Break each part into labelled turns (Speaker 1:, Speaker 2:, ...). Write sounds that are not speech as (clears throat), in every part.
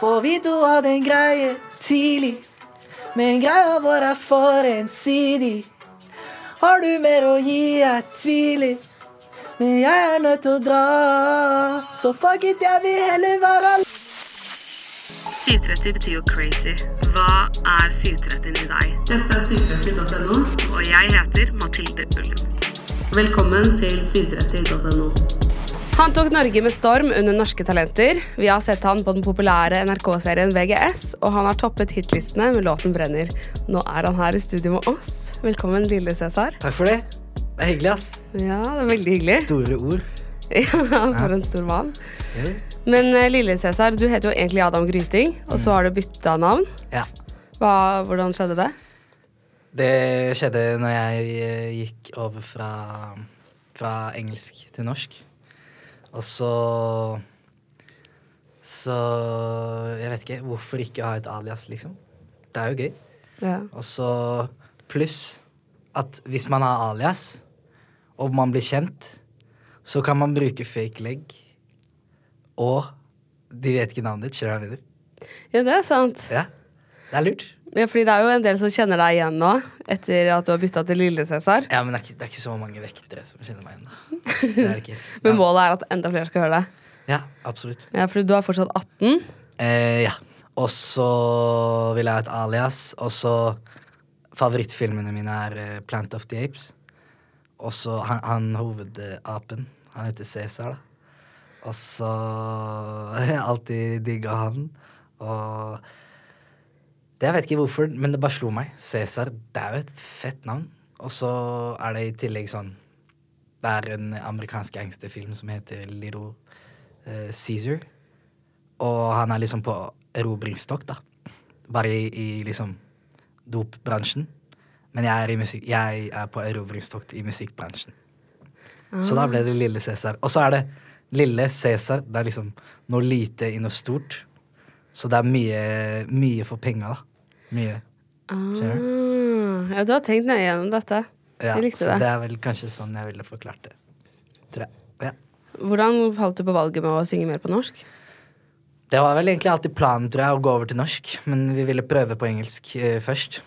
Speaker 1: For vi to hadde en greie tidlig, men greia vår er for ensidig. Har du mer å gi, jeg tviler, men jeg er nødt til å dra. Så fuck it, jeg vil heller være alene.
Speaker 2: 730 betyr jo crazy. Hva er 730 i deg? Dette er 730.no. Og jeg heter Mathilde Ullum. Velkommen til 730.no. Han tok Norge med storm under Norske Talenter. Vi har sett han på den populære NRK-serien VGS, og han har toppet hitlistene med låten 'Brenner'. Nå er han her i studio med oss. Velkommen, lille Cæsar.
Speaker 1: Takk for det. Det er hyggelig, ass.
Speaker 2: Ja, det er veldig hyggelig. (laughs)
Speaker 1: Store ord.
Speaker 2: Ja, for en stor mann. Men eh, lille Cæsar, du heter jo egentlig Adam Gryting, og så har du bytta navn.
Speaker 1: Ja.
Speaker 2: Hva, hvordan skjedde det?
Speaker 1: Det skjedde når jeg eh, gikk over fra, fra engelsk til norsk. Og så Så jeg vet ikke. Hvorfor ikke ha et alias, liksom? Det er jo gøy.
Speaker 2: Ja.
Speaker 1: Og så pluss at hvis man har alias, og man blir kjent, så kan man bruke fake leg. Og de vet ikke navnet ditt. Skjønner du hva jeg mener?
Speaker 2: ja, det er sant.
Speaker 1: Ja. Det er lurt.
Speaker 2: Ja, fordi det er jo en del som kjenner deg igjen nå, etter at du har bytta til lille Cæsar.
Speaker 1: Ja, men det er, ikke, det er ikke så mange vektere som kjenner meg igjen. da. Det er det ikke.
Speaker 2: (laughs) Men målet er at enda flere skal høre deg.
Speaker 1: Ja, absolutt.
Speaker 2: Ja, fordi du er fortsatt 18.
Speaker 1: Eh, ja. Og så vil jeg ha et alias. Og så Favorittfilmene mine er eh, Plant of the Apes. Og så han, han hovedapen. Han heter Cæsar, da. Og så (laughs) har jeg alltid digga han. Og det Jeg vet ikke hvorfor, men det bare slo meg. Cæsar, det er jo et fett navn. Og så er det i tillegg sånn Det er en amerikansk gangsterfilm som heter Little eh, Caesar. Og han er liksom på erobringstokt, da. Bare i, i liksom dopbransjen. Men jeg er, i musikk, jeg er på erobringstokt i musikkbransjen. Så da
Speaker 2: Ah.
Speaker 1: ble det Lille Cæsar. Og så er det Lille Cæsar. Det er liksom noe lite i noe stort. Så det er mye, mye for penga, da. Mye. Skjønner
Speaker 2: Ah, ja, du har tenkt nøye gjennom dette.
Speaker 1: Ja,
Speaker 2: jeg likte
Speaker 1: så det
Speaker 2: det.
Speaker 1: er vel kanskje sånn jeg ville forklart det. Tror jeg. Ja.
Speaker 2: Hvordan falt du på valget med å synge mer på norsk?
Speaker 1: Det var vel egentlig alltid planen, tror jeg, å gå over til norsk. Men vi ville prøve på engelsk eh, først.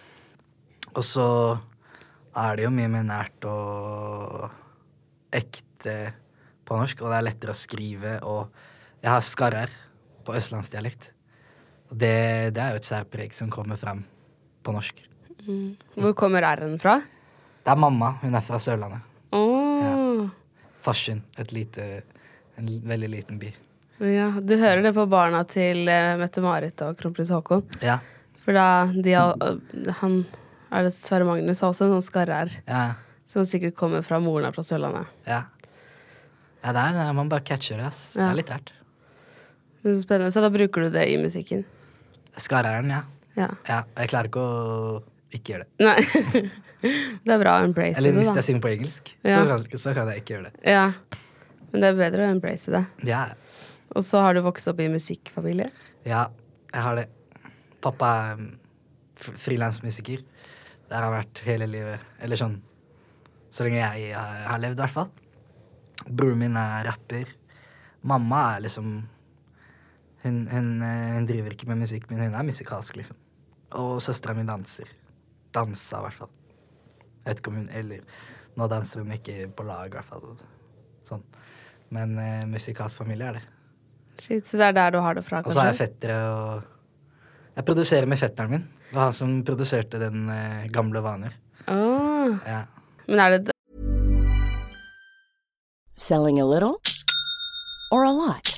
Speaker 1: Og så er det jo mye mer nært og ekte på norsk, og det er lettere å skrive, og jeg har skarrer på østlandsdialekt. Og det, det er jo et særpreg som kommer frem på norsk.
Speaker 2: Hvor kommer r-en fra?
Speaker 1: Det er mamma, hun er fra Sørlandet.
Speaker 2: Oh.
Speaker 1: Farsund, et lite, en l- veldig liten by.
Speaker 2: Ja, Du hører det på barna til eh, Mette-Marit og kronprins Haakon.
Speaker 1: Ja,
Speaker 2: For da de har, øh, Han er det Sverre Magnus har også en sånn skarre her,
Speaker 1: ja,
Speaker 2: som sikkert kommer fra moren her fra Sørlandet.
Speaker 1: ja. Ja, det er, man bare catcher det, ass. Det
Speaker 2: Ja.
Speaker 1: er litt rart.
Speaker 2: Men Så spennende, så da bruker du det i musikken.
Speaker 1: Skarreieren, ja.
Speaker 2: Ja.
Speaker 1: ja. og Jeg klarer ikke å ikke gjøre det.
Speaker 2: Nei. (laughs) det er bra å embrace
Speaker 1: Eller
Speaker 2: det,
Speaker 1: hvis
Speaker 2: da.
Speaker 1: jeg synger på engelsk, så,
Speaker 2: Ja.
Speaker 1: kan, så kan jeg ikke gjøre det.
Speaker 2: Ja. Men det er bedre å embrace det.
Speaker 1: Ja,
Speaker 2: Og så har du vokst opp i musikkfamilie.
Speaker 1: ja jeg har det. Pappa er mm, fr- frilansmusiker. Det har han vært hele livet. Eller sånn så lenge jeg har har levd, i hvert fall. Broren min er rapper. Mamma er liksom hun, hun, eh, hun driver ikke med musikk, men hun er musikalsk, liksom. Og søstera mi danser. Dansa, i hvert fall. Jeg vet ikke om hun Eller nå danser hun ikke på lag, i hvert fall. Sånn. Men eh, musikalsk familie er det.
Speaker 2: Shit, så det er der du har det fra,
Speaker 1: Og så har jeg
Speaker 2: kanskje?
Speaker 1: fettere og Jeg produserer med fetteren min. Det var han som produserte den eh, gamle vaner.
Speaker 2: Åh.
Speaker 1: Ja.
Speaker 2: Men er det
Speaker 3: Selling a little or a lot?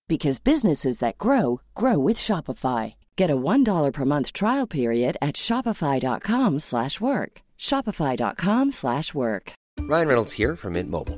Speaker 3: because businesses that grow grow with Shopify. Get a $1 per month trial period at shopify.com/work. shopify.com/work.
Speaker 4: Ryan Reynolds here from Mint Mobile.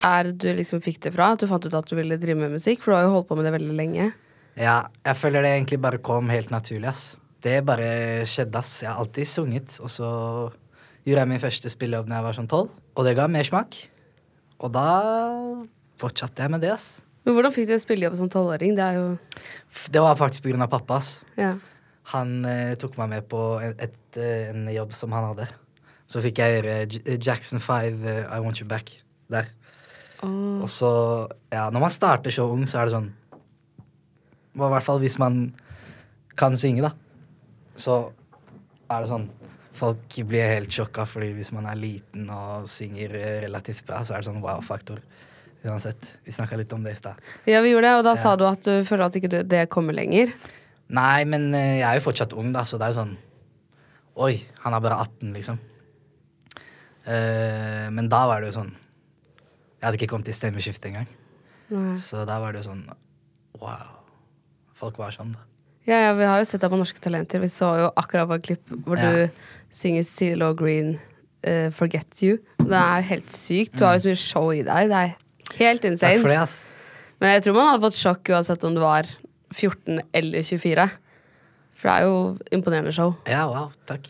Speaker 2: er du liksom fikk det fra? At du fant ut at du ville drive med musikk? For du har jo holdt på med det veldig lenge.
Speaker 1: Ja, jeg føler det egentlig bare kom helt naturlig, ass. Det bare skjedde, ass. Jeg har alltid sunget, og så gjorde jeg min første spillejobb da jeg var sånn tolv, og det ga mersmak. Og da fortsatte jeg med det, ass.
Speaker 2: Men hvordan fikk du en spillejobb som tolvåring? Det er jo
Speaker 1: F- Det var faktisk på grunn av pappa, ass.
Speaker 2: Ja.
Speaker 1: Han eh, tok meg med på en, et, eh, en jobb som han hadde. Så fikk jeg gjøre J Jackson 5, eh, I Want You Back, der. Og så, ja, når man starter så ung, så er det sånn Og I hvert fall hvis man kan synge, da. Så er det sånn Folk blir helt sjokka, fordi hvis man er liten og synger eh, relativt bra, så er det sånn wow-faktor. Uansett. Vi snakka litt om det i stad.
Speaker 2: ja, vi gjorde det, og da sa du at du føler at ikke du, det kommer lenger.
Speaker 1: Nei, men eh, jeg er jo fortsatt ung, da, så det er jo sånn Oi, han er bare 18, liksom. Eh, men da var det jo sånn Jeg hadde ikke kommet til stemmeskiftet engang.
Speaker 2: Mm.
Speaker 1: Så da var det jo sånn Wow. Folk var sånn, da.
Speaker 2: Ja, ja, Vi har jo sett deg på Norske Talenter. Vi så jo akkurat på et klipp hvor
Speaker 1: Ja.
Speaker 2: du synger CeeLo Green eh, 'Forget You'. Det er jo helt sykt. Du har jo så mye show i deg. Det er helt
Speaker 1: Takk
Speaker 2: insane.
Speaker 1: for det, ass.
Speaker 2: Men jeg tror man hadde fått sjokk uansett om du var 14 eller 24. For det er jo imponerende show.
Speaker 1: Ja, wow. Takk.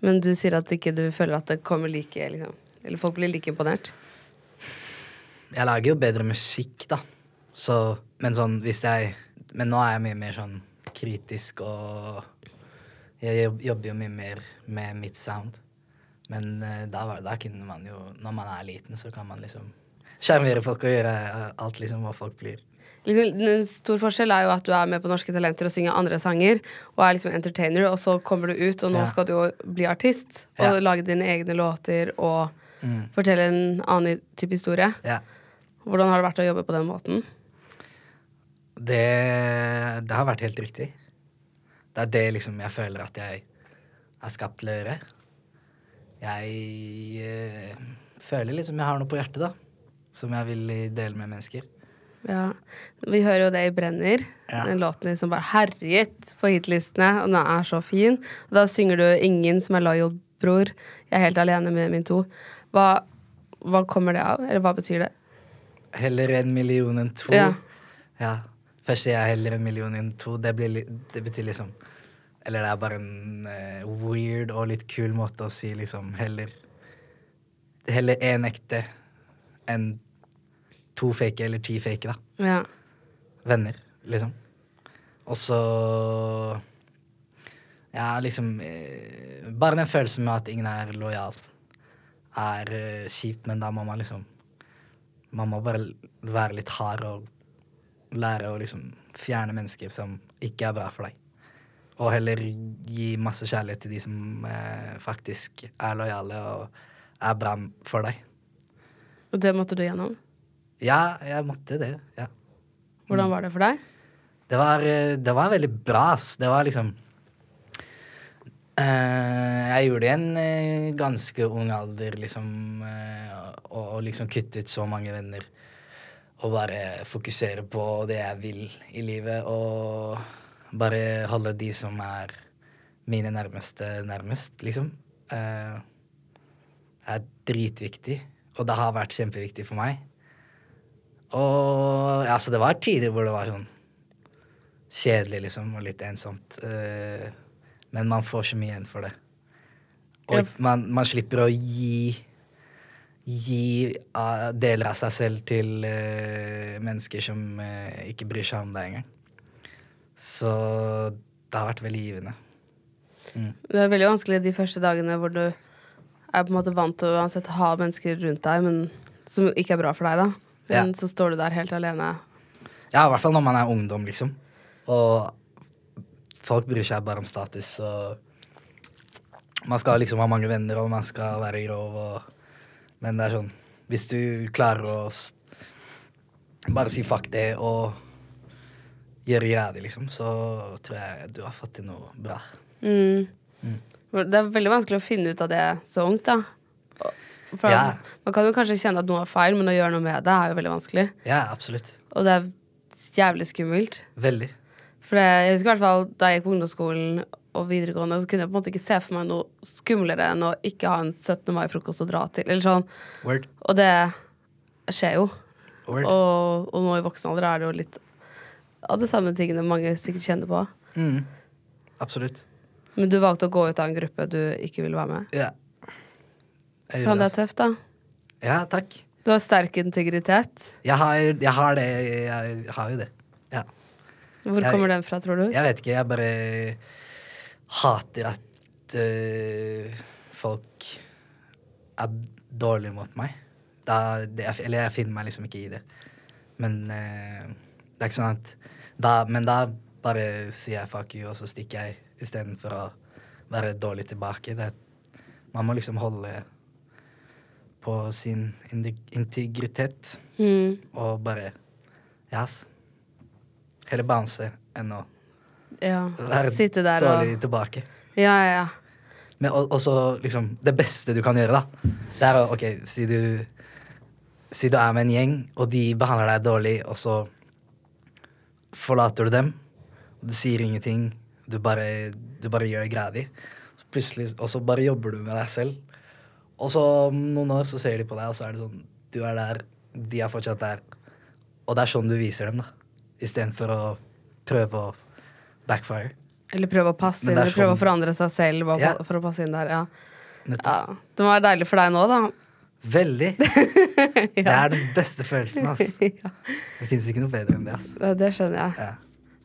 Speaker 2: Men du sier at ikke du føler at det kommer like liksom. Eller folk blir like imponert.
Speaker 1: Jeg lager jo bedre musikk, da. Så, men sånn hvis jeg Men nå er jeg mye mer sånn kritisk og Jeg jobb- jobber jo mye mer med mitt sound. Men eh, da, var, da kunne man jo Når man er liten, så kan man liksom sjarmere folk og gjøre eh, alt liksom hva folk blir.
Speaker 2: Liksom, en stor forskjell er jo at du er med på Norske Talenter og synger andre sanger, og er liksom entertainer, og så kommer du ut, og nå
Speaker 1: Ja.
Speaker 2: skal du jo bli artist. Og
Speaker 1: Ja. Mm.
Speaker 2: lage dine egne låter og fortelle en annen type historie.
Speaker 1: Ja.
Speaker 2: Hvordan har det vært å jobbe på den måten?
Speaker 1: Det, det har vært helt riktig. Det er det liksom jeg føler at jeg er skapt til å gjøre. Jeg eh, føler liksom jeg har noe på hjertet, da. Som jeg vil dele med mennesker.
Speaker 2: Ja. Vi hører jo det i Brenner,
Speaker 1: Ja.
Speaker 2: den låten din som bare herjet på hitlistene, og den er så fin. Og da synger du 'Ingen som er lojal bror', 'Jeg er helt alene med min to'. Hva, hva kommer det av? Eller hva betyr det?
Speaker 1: Heller en million enn to.
Speaker 2: Ja.
Speaker 1: Ja. Først sier jeg heller en million enn to. Det, blir, li- det betyr liksom Eller det er bare en eh, weird og litt kul måte å si liksom heller Heller én ekte enn to fake eller ti fake, da.
Speaker 2: Ja.
Speaker 1: venner, liksom. Og så Ja, liksom eh, Bare den følelsen med at ingen er lojal, er eh, kjipt, men da må man liksom Man må bare l- være litt hard og lære å liksom fjerne mennesker som ikke er bra for deg. Og heller gi masse kjærlighet til de som eh, faktisk er lojale og er bra m- for deg.
Speaker 2: Og det måtte du gjennom.
Speaker 1: Ja, jeg måtte det. ja. Mm.
Speaker 2: Hvordan var det for deg?
Speaker 1: Det var, eh, det var veldig bra, ass. Det var liksom eh, Jeg gjorde det i en eh, ganske ung alder, liksom. og, og liksom kutte ut så mange venner. Og bare fokusere på det jeg vil i livet, og bare holde de som er mine nærmeste, nærmest, liksom. Eh, det er dritviktig, og det har vært kjempeviktig for meg. Og altså, det var tider hvor det var sånn kjedelig, liksom, og litt ensomt. Eh, men man får så mye igjen for det. Og
Speaker 2: Ja.
Speaker 1: ikke- man, man slipper å gi gi eh, deler av seg selv til eh, mennesker som eh, ikke bryr seg om deg engang. Så det har vært veldig givende.
Speaker 2: Det er veldig vanskelig de første dagene hvor du er på en måte vant til å uansett ha mennesker rundt deg, men som ikke er bra for deg, da. Men
Speaker 1: Ja.
Speaker 2: så står du der helt alene.
Speaker 1: Ja, i hvert fall når man er ungdom, liksom. Og folk bryr seg bare om status, og man skal liksom ha mange venner, og man skal være grov, og Men det er sånn Hvis du klarer å s- bare si fuck det og gjøre greia di, liksom, så tror jeg du har fått til noe bra.
Speaker 2: Det er veldig vanskelig å finne ut av det så ungt, da. For
Speaker 1: Ja.
Speaker 2: Man kan jo kanskje kjenne at noe er feil, men å gjøre noe med det er jo veldig vanskelig.
Speaker 1: Ja, absolutt.
Speaker 2: Og det er jævlig skummelt.
Speaker 1: Veldig.
Speaker 2: For det, jeg husker i hvert fall Da jeg gikk på ungdomsskolen og videregående, så kunne jeg på en måte ikke se for meg noe skumlere enn å ikke ha en 17. mai-frokost å dra til. Eller sånn.
Speaker 1: Word.
Speaker 2: Og det skjer jo.
Speaker 1: Word.
Speaker 2: Og, og nå i voksen alder er det jo litt av de samme tingene mange sikkert kjenner på.
Speaker 1: Mm. Absolutt.
Speaker 2: Men du valgte å gå ut av en gruppe du ikke ville være med.
Speaker 1: Ja. Jeg gjorde
Speaker 2: Faen, det
Speaker 1: det,
Speaker 2: er tøft, da.
Speaker 1: altså. Ja, takk.
Speaker 2: Du har sterk integritet.
Speaker 1: Jeg har, jeg har det. Jeg har jo det. Ja.
Speaker 2: Hvor
Speaker 1: Jeg-
Speaker 2: kommer den fra, tror du?
Speaker 1: Jeg vet ikke, jeg bare hater at øh, folk er dårlige mot meg. Da, det, jeg- eller jeg finner meg liksom ikke i det. Men øh, det er ikke sånn at da, Men da bare sier jeg fuck you, og så stikker jeg istedenfor å være dårlig tilbake. Det, er- man må liksom holde på sin indi- integritet
Speaker 2: Mm.
Speaker 1: og bare Ja, ass. Heller bounce enn å
Speaker 2: Ja.
Speaker 1: være
Speaker 2: Sitte der og
Speaker 1: dårlig tilbake.
Speaker 2: Ja, ja, ja.
Speaker 1: Men og, og så liksom Det beste du kan gjøre, da, det er å OK, si du Si du er med en gjeng, og de behandler deg dårlig, og så forlater du dem. Og du sier ingenting. Du bare, du bare gjør greia di. Så plutselig, og så bare jobber du med deg selv. Og så om noen år så ser de på deg, og så er det sånn Du er der, de er fortsatt der. Og det er sånn du viser dem, da. Istedenfor å prøve å backfire.
Speaker 2: Eller prøve å passe
Speaker 1: Men
Speaker 2: inn,
Speaker 1: det er
Speaker 2: eller prøve å
Speaker 1: sånn-
Speaker 2: forandre seg selv bare
Speaker 1: Ja.
Speaker 2: pa- for å passe inn der. Ja.
Speaker 1: Nettopp.
Speaker 2: Ja. Det må være deilig for deg nå, da.
Speaker 1: Veldig. Det er den beste følelsen, ass.
Speaker 2: (laughs) Ja.
Speaker 1: Det fins ikke noe bedre enn det, ass.
Speaker 2: Det, det skjønner jeg.
Speaker 1: Ja.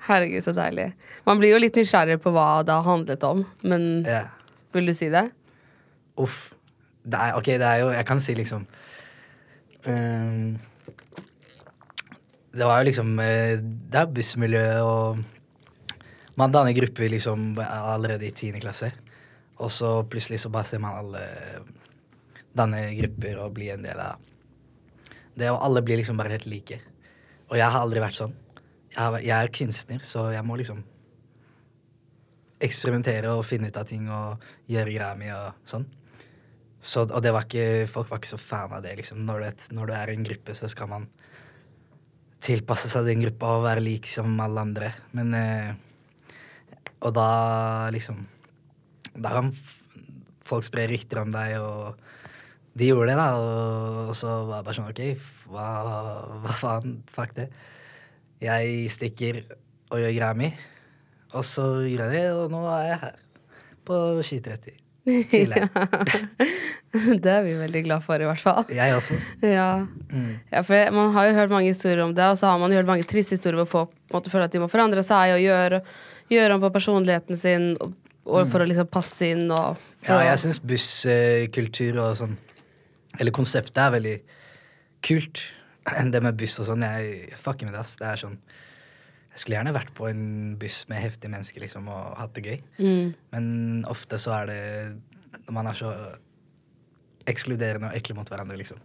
Speaker 2: Herregud, så deilig. Man blir jo litt nysgjerrig på hva det har handlet om, men
Speaker 1: Ja.
Speaker 2: vil du si det? (laughs)
Speaker 1: Uff. Det er, ok, det er jo Jeg kan si liksom ehm, Det var jo liksom eh, Det er bussmiljø og Man danner grupper liksom allerede i tiende klasse. Og så plutselig så bare ser man alle danne grupper og bli en del av det. Og alle blir liksom bare helt like. Og jeg har aldri vært sånn. Jeg, har, væ- jeg er kunstner, så jeg må liksom eksperimentere og finne ut av ting og gjøre greia mi og sånn. Så, og det var ikke, folk var ikke så fan av det, liksom. Når du, vet, når du er i en gruppe, så skal man tilpasse seg den gruppa og være lik som alle andre. Men eh, Og da liksom Da kan f- folk spre rykter om deg, og de gjorde det, da. Og, og så var jeg bare sånn OK, f- hva, hva faen? Fuck det. Jeg stikker og gjør greia mi. Og så gjorde jeg det, og nå er jeg her. På skitrett i. Chille.
Speaker 2: det er vi veldig glad for, i hvert fall.
Speaker 1: Jeg også.
Speaker 2: Ja.
Speaker 1: Mm.
Speaker 2: ja, for man har jo hørt mange historier om det, og så har man jo hørt mange triste historier hvor folk på en måte føler at de må forandre seg og gjøre, gjøre om på personligheten sin og, og for å liksom passe inn og for
Speaker 1: Mm. Ja,
Speaker 2: å-
Speaker 1: jeg syns busskultur og sånn Eller konseptet er veldig kult. (clears throat) Det med buss og sånn. Jeg fucker med det, ass. Det er sånn Jeg skulle gjerne vært på en buss med heftige mennesker liksom, og hatt det gøy. Men ofte så er det Når man er så ekskluderende og ekle mot hverandre, liksom.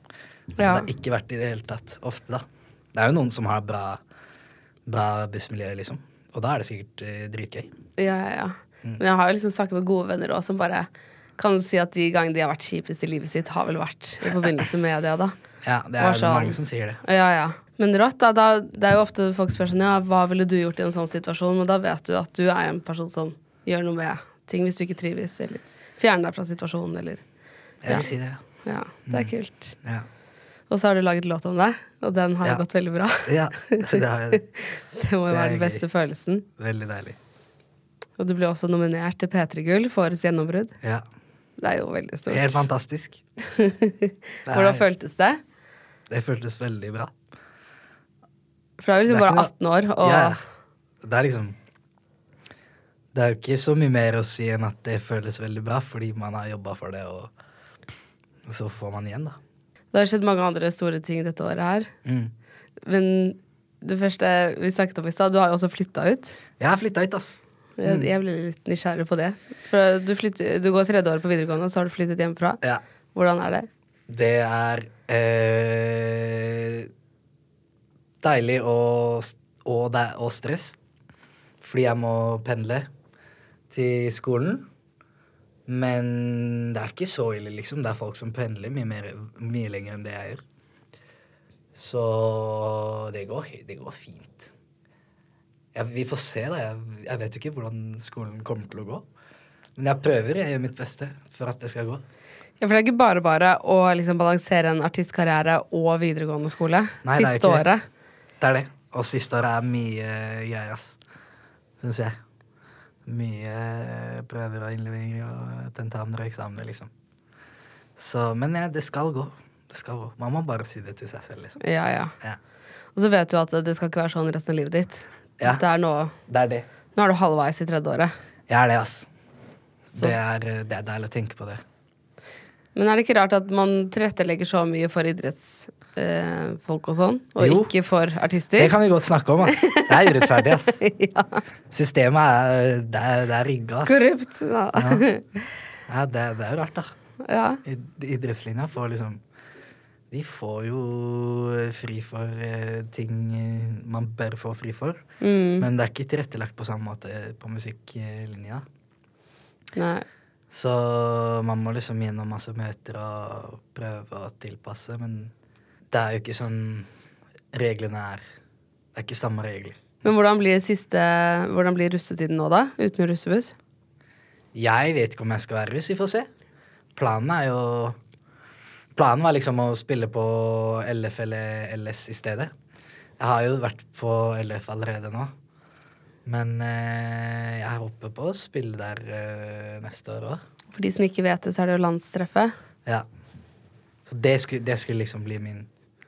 Speaker 1: Så
Speaker 2: Ja.
Speaker 1: det er ikke verdt i det hele tatt. Ofte, da. Det er jo noen som har bra, bra bussmiljø, liksom. Og da er det sikkert eh, dritgøy.
Speaker 2: Ja, ja, ja.
Speaker 1: Mm.
Speaker 2: Men jeg har jo liksom snakket med gode venner også, som bare kan si at de gangene de har vært kjipest i livet sitt, har vel vært i forbindelse med det, da. sånn.
Speaker 1: Ja, det
Speaker 2: Hva
Speaker 1: er
Speaker 2: sa han?
Speaker 1: mange som sier det.
Speaker 2: Ja, ja. Men rått, da, da. Det er jo ofte folk spør sånn, ja, hva ville du gjort i en sånn situasjon? Men da vet du at du er en person som gjør noe med ting hvis du ikke trives, eller fjerner deg fra situasjonen, eller
Speaker 1: Jeg
Speaker 2: Ja.
Speaker 1: vil si det, ja.
Speaker 2: Ja, det
Speaker 1: Mm.
Speaker 2: er kult.
Speaker 1: Ja.
Speaker 2: Og så har du laget låt om deg, og den har
Speaker 1: Ja.
Speaker 2: gått veldig bra.
Speaker 1: (laughs) ja det er
Speaker 2: (laughs) Det må jo
Speaker 1: Det er
Speaker 2: være den beste følelsen.
Speaker 1: veldig deilig.
Speaker 2: Og du ble også nominert til P3 Gull for årets gjennombrudd.
Speaker 1: Ja.
Speaker 2: Det er jo veldig stort.
Speaker 1: Helt
Speaker 2: (laughs)
Speaker 1: fantastisk.
Speaker 2: Hvordan føltes det?
Speaker 1: Det føltes veldig bra.
Speaker 2: For da er du liksom
Speaker 1: Det er
Speaker 2: bare
Speaker 1: ikke
Speaker 2: 18 år, og
Speaker 1: Ja, det er liksom Det er jo ikke så mye mer å si enn at det føles veldig bra, fordi man har jobba for det, og og så får man igjen, da.
Speaker 2: det har skjedd mange andre store ting dette året her.
Speaker 1: Mm.
Speaker 2: Men det første vi snakket om i stad, du har jo også flytta ut.
Speaker 1: Jeg har flytta ut, ass.
Speaker 2: Jeg,
Speaker 1: Mm.
Speaker 2: jeg ble litt nysgjerrig på det. For du, flytter, du går tredje året på videregående, og så har du flyttet hjemmefra.
Speaker 1: Ja.
Speaker 2: Hvordan er det?
Speaker 1: Det er eh, deilig og, s- og, det er- og stress. Fordi jeg må pendle til skolen. Men det er ikke så ille, liksom. Det er folk som pendler mye, mer, mye lenger enn det jeg gjør. Så det går, he- det går fint. Jeg, vi får se, da. Jeg, jeg vet jo ikke hvordan skolen kommer til å gå. Men jeg prøver. Jeg gjør mitt beste for at det skal gå.
Speaker 2: Ja, for det er ikke bare bare å liksom balansere en artistkarriere og videregående skole.
Speaker 1: Nei, det er
Speaker 2: Siste
Speaker 1: jo ikke det.
Speaker 2: året.
Speaker 1: Det er det. Og siste året er mye eh, greier, ass. Syns jeg. Mye eh, prøver og innleveringer og tentamener og eksamener, liksom. Så, men ja, det skal gå. Det skal gå. Man må bare si det til seg selv, liksom.
Speaker 2: Ja, ja.
Speaker 1: Ja.
Speaker 2: Og så vet du at det skal ikke være sånn resten av livet ditt.
Speaker 1: Ja.
Speaker 2: Det er nå,
Speaker 1: Det er det.
Speaker 2: nå er du halvveis i tredje året.
Speaker 1: Jeg er det, ass.
Speaker 2: Så-
Speaker 1: Det er, eh, det er deilig å tenke på det.
Speaker 2: Men er det ikke rart at man tilrettelegger så mye for idrettsfolk eh, folk og sånn, og
Speaker 1: Jo.
Speaker 2: ikke for
Speaker 1: Det
Speaker 2: artister?
Speaker 1: kan vi godt snakke om, ass. Det er urettferdig, (laughs) ass.
Speaker 2: (laughs) ja.
Speaker 1: Systemet er, det er, det er rigga, ass.
Speaker 2: Korrupt. Ja.
Speaker 1: Ja, det, det er jo rart, da.
Speaker 2: (laughs) ja.
Speaker 1: Id- Idrettslinja får liksom De får jo eh, fri for eh, ting eh, man bør få fri for. Men det er ikke tilrettelagt på samme måte på musikklinja.
Speaker 2: Nei.
Speaker 1: Så man må liksom gjennom masse møter og prøve å tilpasse, men det er jo ikke sånn reglene er. Det er ikke samme regler.
Speaker 2: Men hvordan blir, siste, hvordan blir russetiden nå, da? Uten russebuss?
Speaker 1: Jeg vet ikke om jeg skal være russ, vi får se. Planen er jo Planen var liksom å spille på LF eller LS i stedet. Jeg har jo vært på LF allerede nå. Men eh, jeg håper på å spille der eh, neste år òg.
Speaker 2: For de som ikke vet det, så er det jo landstreffet.
Speaker 1: Ja. Så det skulle, det skulle liksom bli min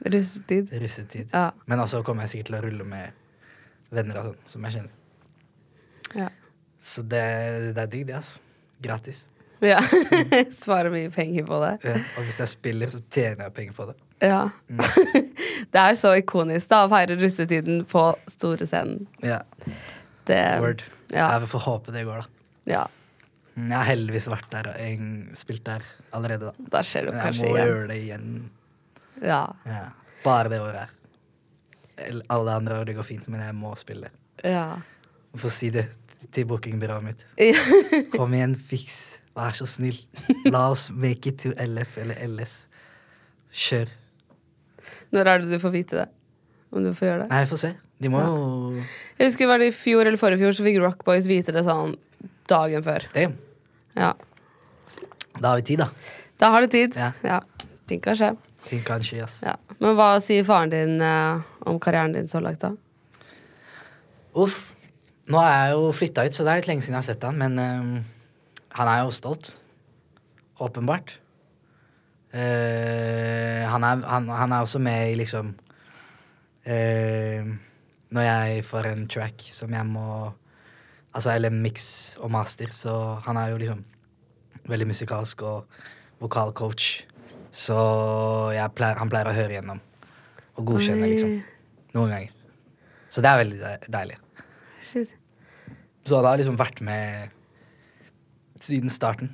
Speaker 2: Russetid.
Speaker 1: russetid.
Speaker 2: Ja.
Speaker 1: Men også kommer jeg sikkert til å rulle med venner og sånn, som jeg kjenner.
Speaker 2: Ja.
Speaker 1: Så det, det er digg, det, altså. Gratis.
Speaker 2: ja. (laughs) Sparer mye penger på det.
Speaker 1: Ja. Og hvis jeg spiller, så tjener jeg penger på det.
Speaker 2: Ja.
Speaker 1: Mm.
Speaker 2: (laughs) det er så ikonisk, da, å feire russetiden på store scenen.
Speaker 1: Ja.
Speaker 2: Det,
Speaker 1: Word.
Speaker 2: Eh, Ja.
Speaker 1: Jeg får håpe det går, da.
Speaker 2: ja.
Speaker 1: Mm, Jeg har heldigvis vært der og en- spilt der allerede, da.
Speaker 2: Da skjer det
Speaker 1: Men
Speaker 2: jo
Speaker 1: jeg
Speaker 2: kanskje
Speaker 1: må
Speaker 2: igjen.
Speaker 1: gjøre det igjen.
Speaker 2: Ja.
Speaker 1: Ja. Bare det året her. Eller Alle andre år det går fint, men jeg må spille.
Speaker 2: ja.
Speaker 1: Få si det til bookingbyrået mitt.
Speaker 2: ja.
Speaker 1: Kom igjen, fiks. Vær så snill. La oss make it to LF eller LS. Kjør.
Speaker 2: (laughs) Når er det du får vite det? Om du får gjøre det?
Speaker 1: Nei, vi får se. De må jo
Speaker 2: Jeg husker var det i fjor eller forrige fjor, så fikk Rock Boys vite det sånn dagen før.
Speaker 1: Damn.
Speaker 2: Ja.
Speaker 1: Da har vi tid, da.
Speaker 2: Da har du tid.
Speaker 1: Ja.
Speaker 2: Ting kan skje.
Speaker 1: Ting kan skje, ass.
Speaker 2: Ja. Men hva sier faren din eh, om karrieren din så langt, da?
Speaker 1: Uff. Nå er jeg jo flytta ut, så det er litt lenge siden jeg har sett han, men øhm, han er jo stolt. Åpenbart. Eh, han, er, han, han er også med i liksom eh, Når jeg får en track som jeg må Altså, eller mix og master, så han er jo liksom veldig musikalsk og vokalcoach. Så jeg pleier, han pleier å høre gjennom og godkjenne,
Speaker 2: Oi.
Speaker 1: liksom. Noen ganger. Så det er veldig de- deilig.
Speaker 2: Shit.
Speaker 1: Så han har liksom vært med siden starten.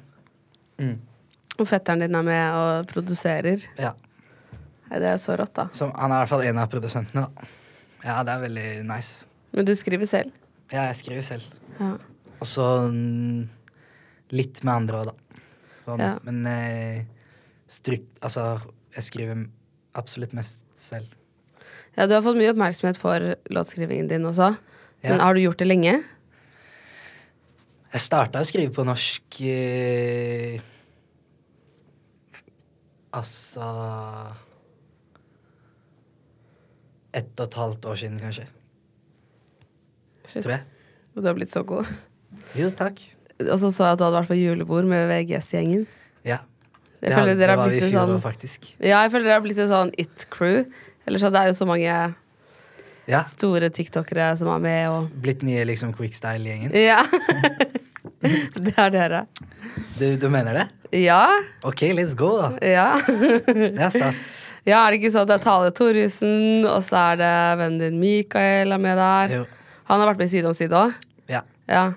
Speaker 2: Og fetteren din er med og produserer.
Speaker 1: Ja.
Speaker 2: Nei, det er så rått, da.
Speaker 1: Så han er i hvert fall en av produsentene, da. Ja, det er veldig nice.
Speaker 2: Men du skriver selv.
Speaker 1: Ja, jeg skriver selv.
Speaker 2: Ja.
Speaker 1: Og så mm, litt med andre òg, da. Sånn.
Speaker 2: Ja.
Speaker 1: Men eh, stryk, altså, jeg skriver absolutt mest selv.
Speaker 2: ja, du har fått mye oppmerksomhet for låtskrivingen din også.
Speaker 1: Ja.
Speaker 2: Men har du gjort det lenge?
Speaker 1: Jeg starta å skrive på norsk eh, Altså Ett og et halvt år siden, kanskje.
Speaker 2: Shit.
Speaker 1: Tror jeg.
Speaker 2: Og du har blitt så god. (laughs)
Speaker 1: Jo, takk.
Speaker 2: Og så så jeg at du hadde vært på julebord med VGS-gjengen. Jeg føler dere
Speaker 1: det
Speaker 2: har
Speaker 1: var vi
Speaker 2: blitt
Speaker 1: i
Speaker 2: en
Speaker 1: fjor
Speaker 2: sånn
Speaker 1: òg, faktisk.
Speaker 2: Ja, jeg føler dere har blitt en sånn it-crew. Eller så Det er jo så mange
Speaker 1: Ja.
Speaker 2: store tiktokere som er med, og
Speaker 1: Blitt nye liksom quickstyle-gjengen.
Speaker 2: Ja. (laughs) det er dere.
Speaker 1: Du, du mener det?
Speaker 2: Ja.
Speaker 1: OK, let's go, da.
Speaker 2: Ja. (laughs)
Speaker 1: Det er stas.
Speaker 2: ja, er det ikke sånn at det er Tale Thoresen, og så er det vennen din Mikael er med der.
Speaker 1: Jo.
Speaker 2: Han har vært med side om side òg.
Speaker 1: Ja.
Speaker 2: Ja.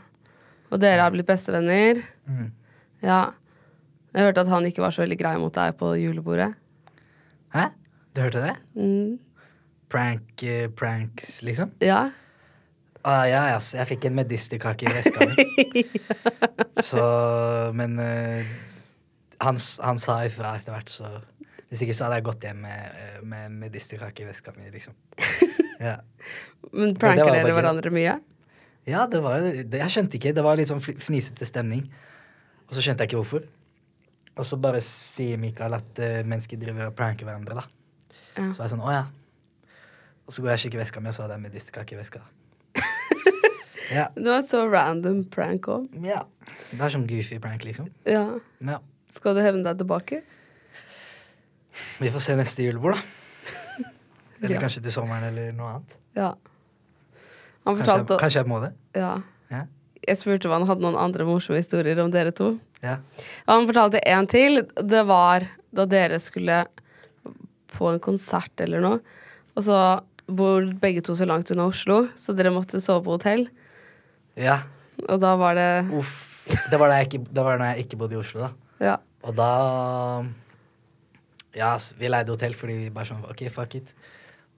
Speaker 2: Og dere har blitt bestevenner.
Speaker 1: Mm.
Speaker 2: Ja. Jeg hørte at han ikke var så veldig grei mot deg på julebordet.
Speaker 1: Hæ? Du hørte det?
Speaker 2: Mm.
Speaker 1: Prank, eh, pranks, liksom?
Speaker 2: Ja.
Speaker 1: Ah, ja, ja, så jeg fikk en medisterkake i veska mi.
Speaker 2: (laughs)
Speaker 1: Så Men eh, han, s- han sa ifra etter hvert, så Hvis ikke så hadde jeg gått hjem med, eh, med medisterkake i veska mi,
Speaker 2: (laughs)
Speaker 1: liksom. Ja.
Speaker 2: Men
Speaker 1: det
Speaker 2: pranker
Speaker 1: var
Speaker 2: dere
Speaker 1: bare
Speaker 2: hverandre mye?
Speaker 1: Ja, det var det, Jeg skjønte ikke. Det var litt sånn fli- fnisete stemning. Og så skjønte jeg ikke hvorfor. Og så bare sier Mikael at eh, mennesker driver og pranker hverandre, da.
Speaker 2: Ja.
Speaker 1: Så var jeg sånn, å ja. Og så går jeg og kikker i veska mi, og så hadde jeg medisterkake i
Speaker 2: (laughs)
Speaker 1: veska. ja.
Speaker 2: Det var så random prank òg.
Speaker 1: ja. Det er sånn goofy prank, liksom.
Speaker 2: Ja.
Speaker 1: Ja.
Speaker 2: Skal du hevne deg tilbake?
Speaker 1: Vi får se neste julebord, da. Eller
Speaker 2: Ja.
Speaker 1: kanskje til sommeren, eller noe annet.
Speaker 2: Ja. Han
Speaker 1: Kanskje, jeg-
Speaker 2: fortalte
Speaker 1: kanskje jeg må det.
Speaker 2: ja.
Speaker 1: Ja.
Speaker 2: Jeg spurte om han hadde noen andre morsomme historier om dere to.
Speaker 1: ja.
Speaker 2: Han fortalte en til. Det var da dere skulle på en konsert eller noe. Og så bor begge to så langt unna Oslo, så dere måtte sove på hotell.
Speaker 1: ja.
Speaker 2: Og da var det
Speaker 1: Uff. Det var da jeg ikke, det var da jeg ikke bodde i Oslo, da.
Speaker 2: Ja.
Speaker 1: Og da Ja, ass, vi leide hotell fordi vi bare sånn OK, fuck it.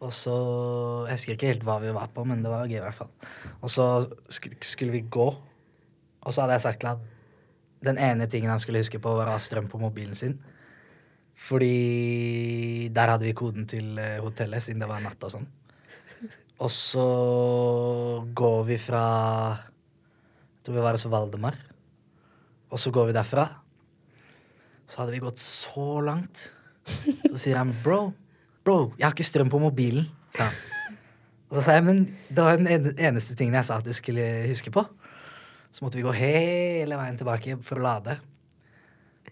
Speaker 1: Og så Jeg husker ikke helt hva vi var på, men det var gøy i hvert fall. Og så sk skulle vi gå, og så hadde jeg sagt til han Den ene tingen han skulle huske på, var å ha strøm på mobilen sin. Fordi der hadde vi koden til eh, hotellet, siden det var natt og sånn. Og så går vi fra Jeg tror vi var hos Valdemar. Og så går vi derfra. Så hadde vi gått så langt. Så sier han, bro, bro, jeg har ikke strøm på mobilen. Sa han. Og så sa jeg, men det var den ene- eneste tingen jeg sa at du skulle huske på. Så måtte vi gå hele veien tilbake for å lade.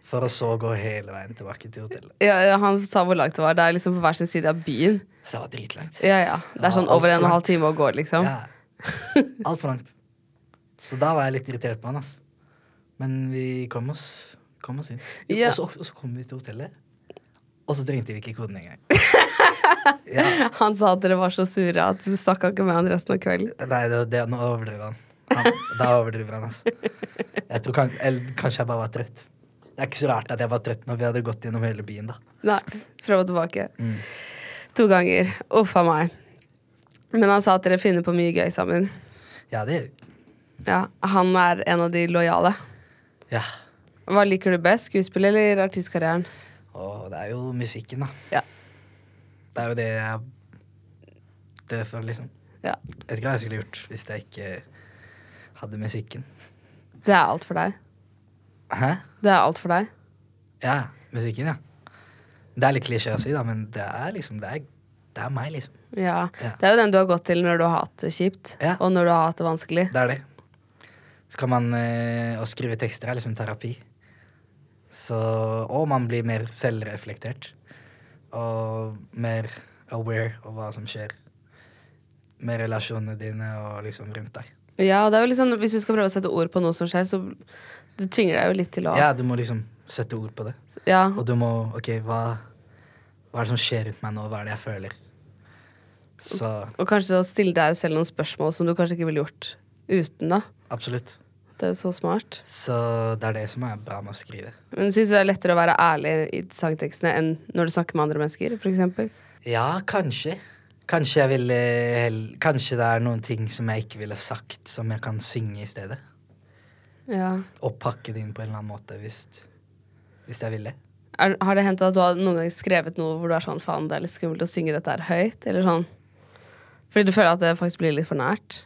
Speaker 1: For å så gå hele veien tilbake til hotellet.
Speaker 2: Ja, ja, han sa hvor langt det var. Det er liksom på hver sin side av byen.
Speaker 1: Så det var dritlangt.
Speaker 2: Ja, ja. Det
Speaker 1: Ja,
Speaker 2: er sånn
Speaker 1: alt
Speaker 2: over en og
Speaker 1: langt.
Speaker 2: en halv time å gå, liksom.
Speaker 1: Ja. Altfor langt. Så da var jeg litt irritert på han, altså. Men vi kom oss, kom oss inn.
Speaker 2: Ja.
Speaker 1: Og, så, og så kom vi til hotellet, og så trengte vi ikke koden engang. ja.
Speaker 2: Han sa at dere var så sure at du snakka ikke med han resten av kvelden.
Speaker 1: Nei, det, det, nå overdriver han. han. Da overdriver han, altså. Jeg tror kan, eller, kanskje jeg bare var trøtt. Det er ikke så rart at jeg var trøtt når vi hadde gått gjennom hele byen, da.
Speaker 2: Nei, fram og tilbake.
Speaker 1: Mm.
Speaker 2: To ganger. Uff a meg. Men han sa at dere finner på mye gøy sammen.
Speaker 1: Ja, det
Speaker 2: Ja, Han er en av de lojale.
Speaker 1: Ja.
Speaker 2: Hva liker du best? Skuespill eller artistkarrieren?
Speaker 1: Og det er jo musikken,
Speaker 2: Ja.
Speaker 1: da. Det er jo det jeg dør for, liksom.
Speaker 2: ja.
Speaker 1: Jeg vet ikke hva jeg skulle gjort hvis jeg ikke hadde musikken.
Speaker 2: Det er alt for deg.
Speaker 1: Hæ?
Speaker 2: Det er alt for deg.
Speaker 1: Ja, musikken, ja. Det er litt klisjé å si, da, men det er liksom Det er, det er meg, liksom.
Speaker 2: Ja.
Speaker 1: Ja.
Speaker 2: Det er jo den du har gått til når du har hatt det kjipt,
Speaker 1: Ja.
Speaker 2: og når du har hatt det vanskelig.
Speaker 1: Det er det. Så kan man eh, Å skrive tekster er liksom terapi. Så Og man blir mer selvreflektert. Og mer aware av hva som skjer med relasjonene dine og liksom rundt deg.
Speaker 2: Ja, og det er jo litt sånn, Hvis du skal prøve å sette ord på noe som skjer, så det tvinger deg jo litt til å
Speaker 1: Ja, du må liksom sette ord på det.
Speaker 2: Ja.
Speaker 1: Og du må OK, hva, hva er det som skjer rundt meg nå? Hva er det jeg føler? Så
Speaker 2: Og kanskje å stille deg selv noen spørsmål som du kanskje ikke ville gjort uten, da.
Speaker 1: absolutt.
Speaker 2: Det er jo så smart.
Speaker 1: Så det er det som er bra med å skrive.
Speaker 2: Men syns du det er lettere å være ærlig i sangtekstene enn når du snakker med andre mennesker, f.eks.?
Speaker 1: Ja, kanskje. Kanskje, jeg ville, hell- kanskje det er noen ting som jeg ikke ville sagt, som jeg kan synge i stedet.
Speaker 2: Ja.
Speaker 1: Og pakke det inn på en eller annen måte, hvis, hvis jeg ville.
Speaker 2: Er, har det hendt at du har noen gang skrevet noe hvor du er sånn faen, det er litt skummelt å synge dette her høyt, eller sånn? Fordi du føler at det faktisk blir litt for nært?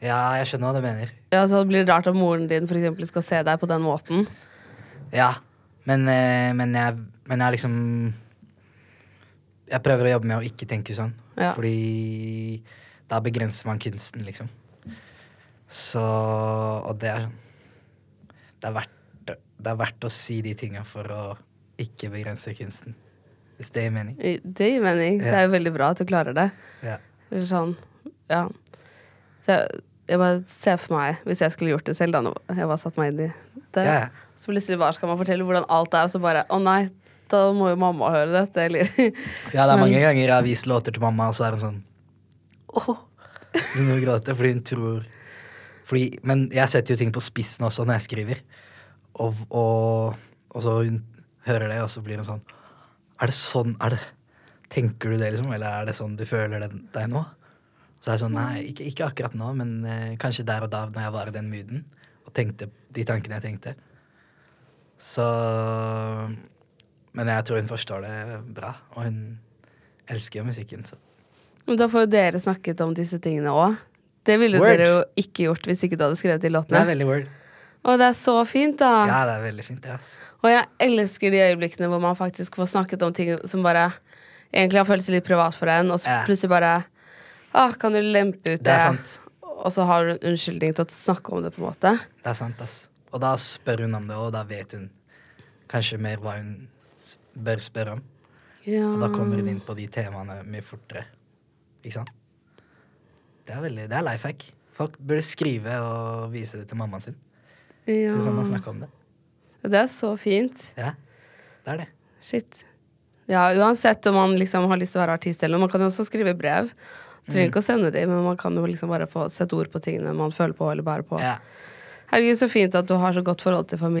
Speaker 1: Ja, jeg skjønner hva du mener.
Speaker 2: Ja, så det blir rart om moren din for eksempel, skal se deg på den måten.
Speaker 1: Ja, men, eh, men, jeg, men jeg liksom Jeg prøver å jobbe med å ikke tenke sånn,
Speaker 2: Ja.
Speaker 1: fordi da begrenser man kunsten, liksom. Så Og det er sånn Det er verdt det. det er verdt å si de tinga for å ikke begrense kunsten. Hvis det gir mening.
Speaker 2: Det gir mening. Det er jo veldig bra at du klarer det.
Speaker 1: Ja.
Speaker 2: Eller sånn, ja. Så jeg, jeg bare ser for meg, hvis jeg skulle gjort det selv, da, nå- jeg bare satt meg inn i det,
Speaker 1: Ja, ja.
Speaker 2: så plutselig bare skal man fortelle hvordan alt er, og så bare, å nei, da må jo mamma høre dette, eller... (laughs)
Speaker 1: Ja, det er mange ganger jeg har vist låter til mamma, og så er hun sånn Åh. Hun må gråte fordi hun tror fordi, Men jeg setter jo ting på spissen også når jeg skriver. Og, og, og så hun hører det, og så blir hun sånn Er det sånn er det, Tenker du det, liksom? Eller er det sånn du føler det deg nå? Så er jeg sånn Nei, ikke, ikke akkurat nå, men eh, kanskje der og da, når jeg var i den mooden, og tenkte de tankene jeg tenkte. Så Men jeg tror hun forstår det bra, og hun elsker jo musikken, så
Speaker 2: Men da får jo dere snakket om disse tingene òg. Det ville jo
Speaker 1: Word.
Speaker 2: dere jo ikke gjort hvis ikke du hadde skrevet de
Speaker 1: Det
Speaker 2: låtene.
Speaker 1: er veldig word.
Speaker 2: og det er så fint, da.
Speaker 1: Ja, det er veldig fint, det, ass.
Speaker 2: Og jeg elsker de øyeblikkene hvor man faktisk får snakket om ting som bare egentlig har føltes litt privat for en, og så
Speaker 1: Ja.
Speaker 2: plutselig bare ah, Kan du lempe ut det?
Speaker 1: Det er sant.
Speaker 2: Og så har du en unnskyldning til å snakke om det, på en måte.
Speaker 1: Det er sant, ass. Og da spør hun om det, og da vet hun kanskje mer hva hun s- bør spørre om.
Speaker 2: Ja.
Speaker 1: Og da kommer hun inn på de temaene mye fortere. Ikke sant? Det er veldig, det er life hack. Folk burde skrive og vise det til mammaen sin. Så kan man snakke om det.
Speaker 2: Det er så fint.
Speaker 1: Ja, det er det.
Speaker 2: Shit. Ja, uansett om man liksom har lyst til å være artist eller noe, man kan jo også skrive brev. Trenger
Speaker 1: Mm.
Speaker 2: ikke å sende de, men man kan jo liksom bare få sette ord på tingene man føler på eller bærer på.
Speaker 1: Ja.
Speaker 2: Herregud, så fint at du har så godt forhold til familien.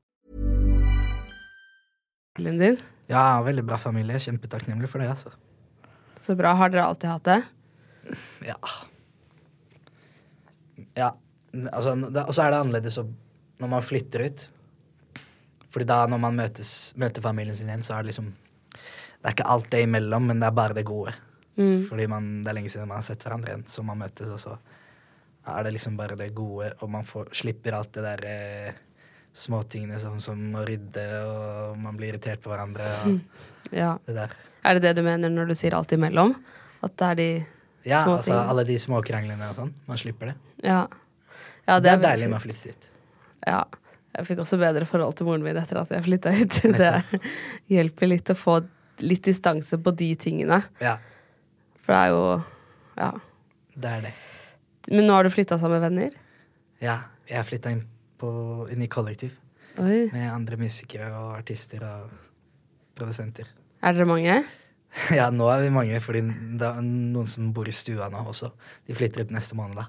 Speaker 2: din.
Speaker 1: ja, veldig bra familie. Kjempetakknemlig for det, altså.
Speaker 2: Så bra. Har dere alltid hatt det?
Speaker 1: Ja. Ja. n- Altså, n- det, og så er det annerledes å, når man flytter ut. Fordi da når man møtes, møter familien sin igjen, så er det liksom Det er ikke alt det imellom, men det er bare det gode.
Speaker 2: Mm.
Speaker 1: Fordi man, det er lenge siden man har sett hverandre igjen, så man møtes, og så er det liksom bare det gode, og man får, slipper alt det derre eh, småtingene som, som å rydde, og man blir irritert på hverandre
Speaker 2: Mm.
Speaker 1: og
Speaker 2: Ja.
Speaker 1: det der.
Speaker 2: Er det det du mener når du sier alt imellom? At det er de
Speaker 1: Ja,
Speaker 2: små
Speaker 1: altså
Speaker 2: tingene?
Speaker 1: alle de småkranglene og sånn. Man slipper det.
Speaker 2: Ja. ja,
Speaker 1: Det er
Speaker 2: veldig
Speaker 1: deilig med å
Speaker 2: fint.
Speaker 1: flytte ut.
Speaker 2: Ja. Jeg fikk også bedre forhold til moren min etter at jeg flytta ut. Det hjelper litt å få litt distanse på de tingene.
Speaker 1: Ja,
Speaker 2: For det er jo Ja.
Speaker 1: det er det.
Speaker 2: Men nå har du flytta sammen med venner?
Speaker 1: Ja, jeg flytta inn, på- inn i kollektiv
Speaker 2: Oi.
Speaker 1: med andre musikere og artister og produsenter. (laughs)
Speaker 2: Er dere mange?
Speaker 1: Ja, nå er vi mange, fordi det er noen som bor i stua nå også. De flytter ut neste måned, da.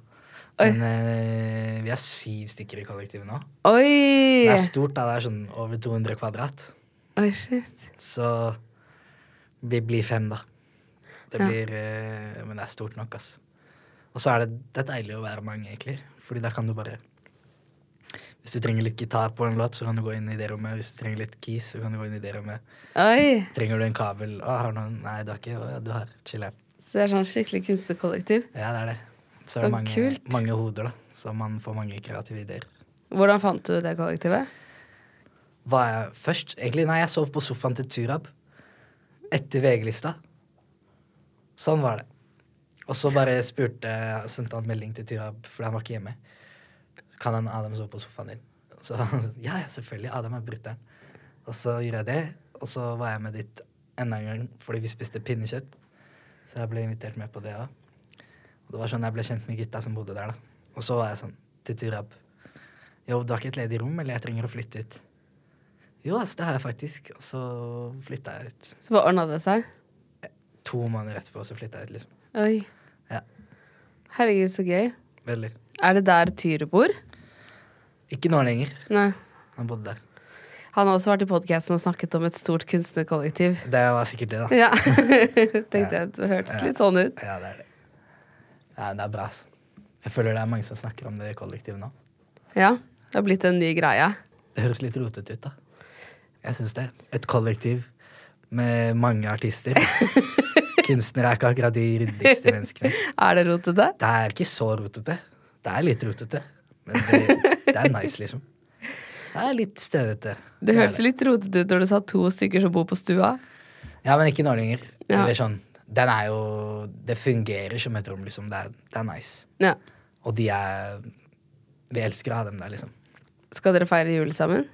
Speaker 2: Oi.
Speaker 1: Men eh, vi er syv stykker i kollektivet nå.
Speaker 2: Oi!
Speaker 1: Det er stort, da. Det er sånn over 200 kvadrat.
Speaker 2: Oi, shit.
Speaker 1: Så vi blir fem, da. Det
Speaker 2: Ja.
Speaker 1: blir eh, Men det er stort nok, ass. Og så er det, det er deilig å være mange, egentlig. Fordi da kan du bare Hvis du trenger litt gitar på en låt, så kan du gå inn i det rommet. Hvis du trenger litt keys, så kan du gå inn i det rommet.
Speaker 2: Oi!
Speaker 1: Trenger du en kabel? Å, har du noen? Nei, du har ikke? Å, ja, du har. Chiller'n.
Speaker 2: Så det er sånn skikkelig kunstnerkollektiv.
Speaker 1: Ja, det er det. Så,
Speaker 2: Så
Speaker 1: er det mange,
Speaker 2: kult.
Speaker 1: mange hoder, da. Så man får mange kreative ideer.
Speaker 2: Hvordan fant du det kollektivet?
Speaker 1: Var jeg først? Egentlig, nei, jeg sov på sofaen til Turab. etter VG-lista. Sånn var det. Og så bare spurte, sendte han melding til Tyrab, fordi han var ikke hjemme. Kan han Adam sove på sofaen din? Så han sa, ja, ja, selvfølgelig. Adam er bryteren. Og så gjorde jeg det, og så var jeg med dit enda en gang fordi vi spiste pinnekjøtt. Så jeg ble invitert med på det òg. Og det var sånn jeg ble kjent med gutta som bodde der, da. Og så var jeg sånn til Tyrab. Jo, du har ikke et ledig rom, eller jeg trenger å flytte ut. Jo, ass, det har jeg faktisk. Og så flytta jeg ut.
Speaker 2: Så bare ordna det seg.
Speaker 1: To måneder etterpå så flytta jeg ut, liksom.
Speaker 2: Oi.
Speaker 1: Ja,
Speaker 2: Herregud, så gøy.
Speaker 1: veldig.
Speaker 2: Er det der Tyre bor?
Speaker 1: Ikke nå lenger.
Speaker 2: Nei.
Speaker 1: Han bodde der.
Speaker 2: Han har også vært i podkasten og snakket om et stort kunstnerkollektiv.
Speaker 1: Det var sikkert det, da.
Speaker 2: Ja. (laughs) Tenkte jeg at det hørtes litt sånn ut.
Speaker 1: Ja, det er det. Ja, det er bra, ass. Jeg føler det er mange som snakker om det i kollektivet nå.
Speaker 2: Ja. Det har blitt en ny greie.
Speaker 1: Det høres litt rotete ut, da. Jeg syns det. Et kollektiv med mange (laughs) artister. Kunstnere er ikke akkurat de ryddigste menneskene.
Speaker 2: (laughs) Er det rotete?
Speaker 1: Det er ikke så rotete. Det er litt rotete, men det, det er nice, liksom. Det er litt støvete.
Speaker 2: Det
Speaker 1: er
Speaker 2: hørtes litt rotete ut når du sa to stykker som bor på stua.
Speaker 1: Ja, men ikke nå lenger.
Speaker 2: Ja.
Speaker 1: Eller sånn. Den er jo Det fungerer som et rom, liksom. Det er, det er nice.
Speaker 2: Ja.
Speaker 1: Og de er Vi elsker å ha dem der, liksom.
Speaker 2: Skal dere feire jul sammen?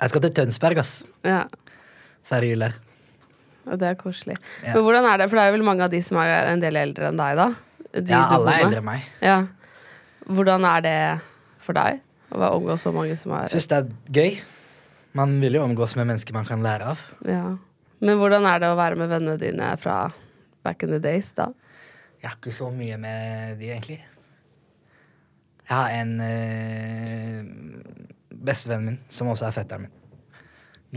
Speaker 1: Jeg skal til Tønsberg, ass.
Speaker 2: Ja.
Speaker 1: Feire jul der.
Speaker 2: Og det er koselig.
Speaker 1: Ja.
Speaker 2: Men hvordan er det? For det er vel mange av de som er en del eldre enn deg, da? De
Speaker 1: Ja,
Speaker 2: du bor
Speaker 1: alle er
Speaker 2: med.
Speaker 1: eldre enn meg.
Speaker 2: Ja. Hvordan er det for deg? Å være omgå så mange som er
Speaker 1: Syns det er gøy. Man vil jo omgås med mennesker man kan lære av.
Speaker 2: Ja. Men hvordan er det å være med vennene dine fra back in the days, da?
Speaker 1: Jeg har ikke så mye med de, egentlig. Jeg har en øh, bestevennen min, som også er fetteren min.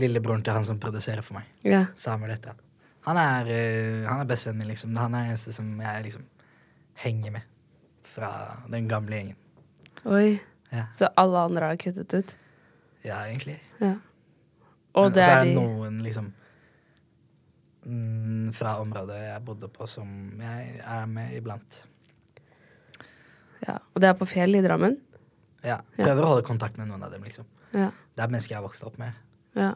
Speaker 1: Lillebroren til han som produserer for meg.
Speaker 2: Ja.
Speaker 1: Samuel heter han. Han er, øh, han er bestevennen min, liksom. Han er den eneste som jeg liksom henger med fra den gamle gjengen.
Speaker 2: Oi.
Speaker 1: Ja,
Speaker 2: Så alle andre er kuttet ut?
Speaker 1: ja egentlig.
Speaker 2: Ja.
Speaker 1: Men
Speaker 2: Og det
Speaker 1: så
Speaker 2: er
Speaker 1: er det
Speaker 2: de
Speaker 1: noen liksom mm, fra området jeg bodde på, som jeg er med iblant.
Speaker 2: ja. Og det er på Fjell i Drammen?
Speaker 1: Ja. Prøver å holde kontakt med noen av dem, liksom.
Speaker 2: Ja.
Speaker 1: Det er mennesker jeg har vokst opp med.
Speaker 2: ja.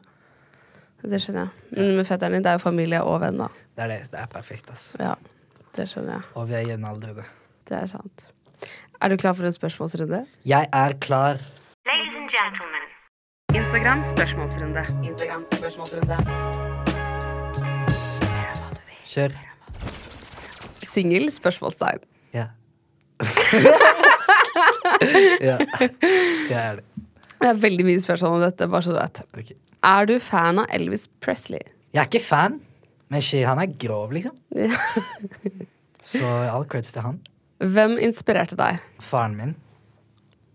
Speaker 2: Det skjønner jeg. Men med fetteren din, det er jo familie og venn, da.
Speaker 1: Det er, det, det er perfekt, ass.
Speaker 2: Ja. Det skjønner jeg.
Speaker 1: Og vi er jevnaldrende.
Speaker 2: Det er sant. Er du klar for en spørsmålsrunde?
Speaker 1: Jeg er klar.
Speaker 5: Ladies and gentlemen. Instagram spørsmålsrunde. Instagram spørsmålsrunde.
Speaker 1: Kjør.
Speaker 2: Singel? Spørsmålstegn.
Speaker 1: Ja. (laughs) ja. Det er det.
Speaker 2: Det er veldig mye spørsmål om dette, bare så du vet.
Speaker 1: Ok.
Speaker 2: Er du fan av Elvis Presley?
Speaker 1: Jeg er ikke fan, men shit, han er grov, liksom.
Speaker 2: Ja.
Speaker 1: (laughs) Så all creds til han.
Speaker 2: Hvem inspirerte deg?
Speaker 1: Faren min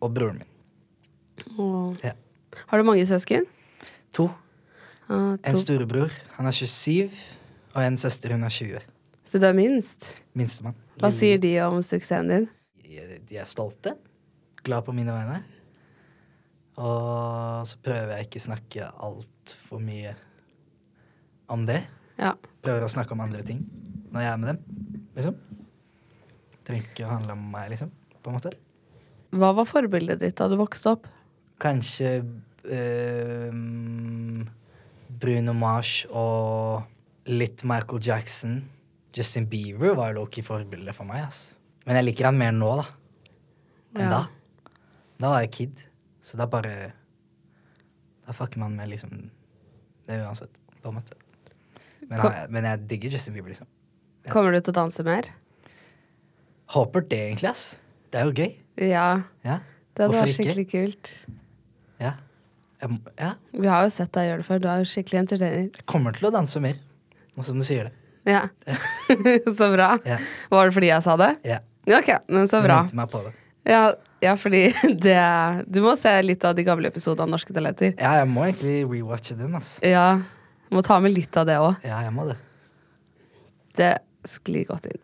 Speaker 1: og broren min. Ja.
Speaker 2: Har du mange søsken?
Speaker 1: To.
Speaker 2: Ah,
Speaker 1: En
Speaker 2: to.
Speaker 1: storebror. Han er 27, og en søster. Hun er 20.
Speaker 2: Så du er minst?
Speaker 1: Minstemann.
Speaker 2: Hva sier de om suksessen din?
Speaker 1: Jeg- De er stolte. Glad på mine vegne. Og så prøver jeg ikke snakke altfor mye om det.
Speaker 2: Ja.
Speaker 1: Prøver å snakke om andre ting når jeg er med dem, liksom. Trenger ikke å handle om meg, liksom, på en måte.
Speaker 2: Hva var forbildet ditt da du vokste opp?
Speaker 1: Kanskje eh, Bruno Mars og litt Michael Jackson. Justin Bieber var jo ikke forbildet for meg. ass. Men jeg liker han mer nå da, enn
Speaker 2: Ja.
Speaker 1: da. Da var jeg kid, så da bare Da fucker man med liksom det er uansett, på en måte. Men,
Speaker 2: Ko-
Speaker 1: han, men jeg digger Justin Bieber, liksom.
Speaker 2: Kommer du til å danse mer?
Speaker 1: Håper det, egentlig. ass. Det er jo gøy.
Speaker 2: Ja.
Speaker 1: Ja.
Speaker 2: Det hadde
Speaker 1: Hvorfor
Speaker 2: vært skikkelig kult.
Speaker 1: Ja. Jeg, må- ja.
Speaker 2: Vi har jo sett deg gjøre det før. Du er jo skikkelig entertainer.
Speaker 1: Jeg kommer til å danse mer, nå som du sier det.
Speaker 2: Ja. (laughs) så bra.
Speaker 1: Ja.
Speaker 2: Var det fordi jeg sa det?
Speaker 1: Ja.
Speaker 2: Ok, men så bra.
Speaker 1: Minte meg på det.
Speaker 2: Ja, ja fordi (laughs) det Du må se litt av de gamle episodene av Norske Talenter.
Speaker 1: Ja, jeg må egentlig rewatche den, ass.
Speaker 2: Ja. Må ta med litt av det òg.
Speaker 1: Ja, jeg må det.
Speaker 2: Det sklir godt inn.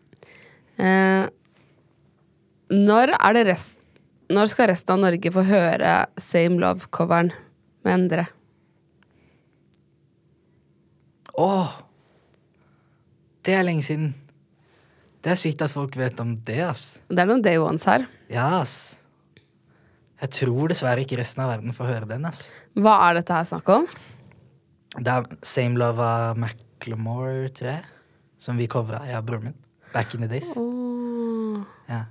Speaker 2: Eh, når, er det rest, når skal resten av Norge få høre Same Love-coveren med Endre?
Speaker 1: Åh! Det er lenge siden. Det er sykt at folk vet om det, ass.
Speaker 2: Det er noen day ones her.
Speaker 1: Ja, ass. Jeg tror dessverre ikke resten av verden får høre den, ass.
Speaker 2: Hva er dette her snakk om?
Speaker 1: Det er Same Love av Macklemore, tror jeg, som vi covra, jeg og broren min. Back in the days. Ja.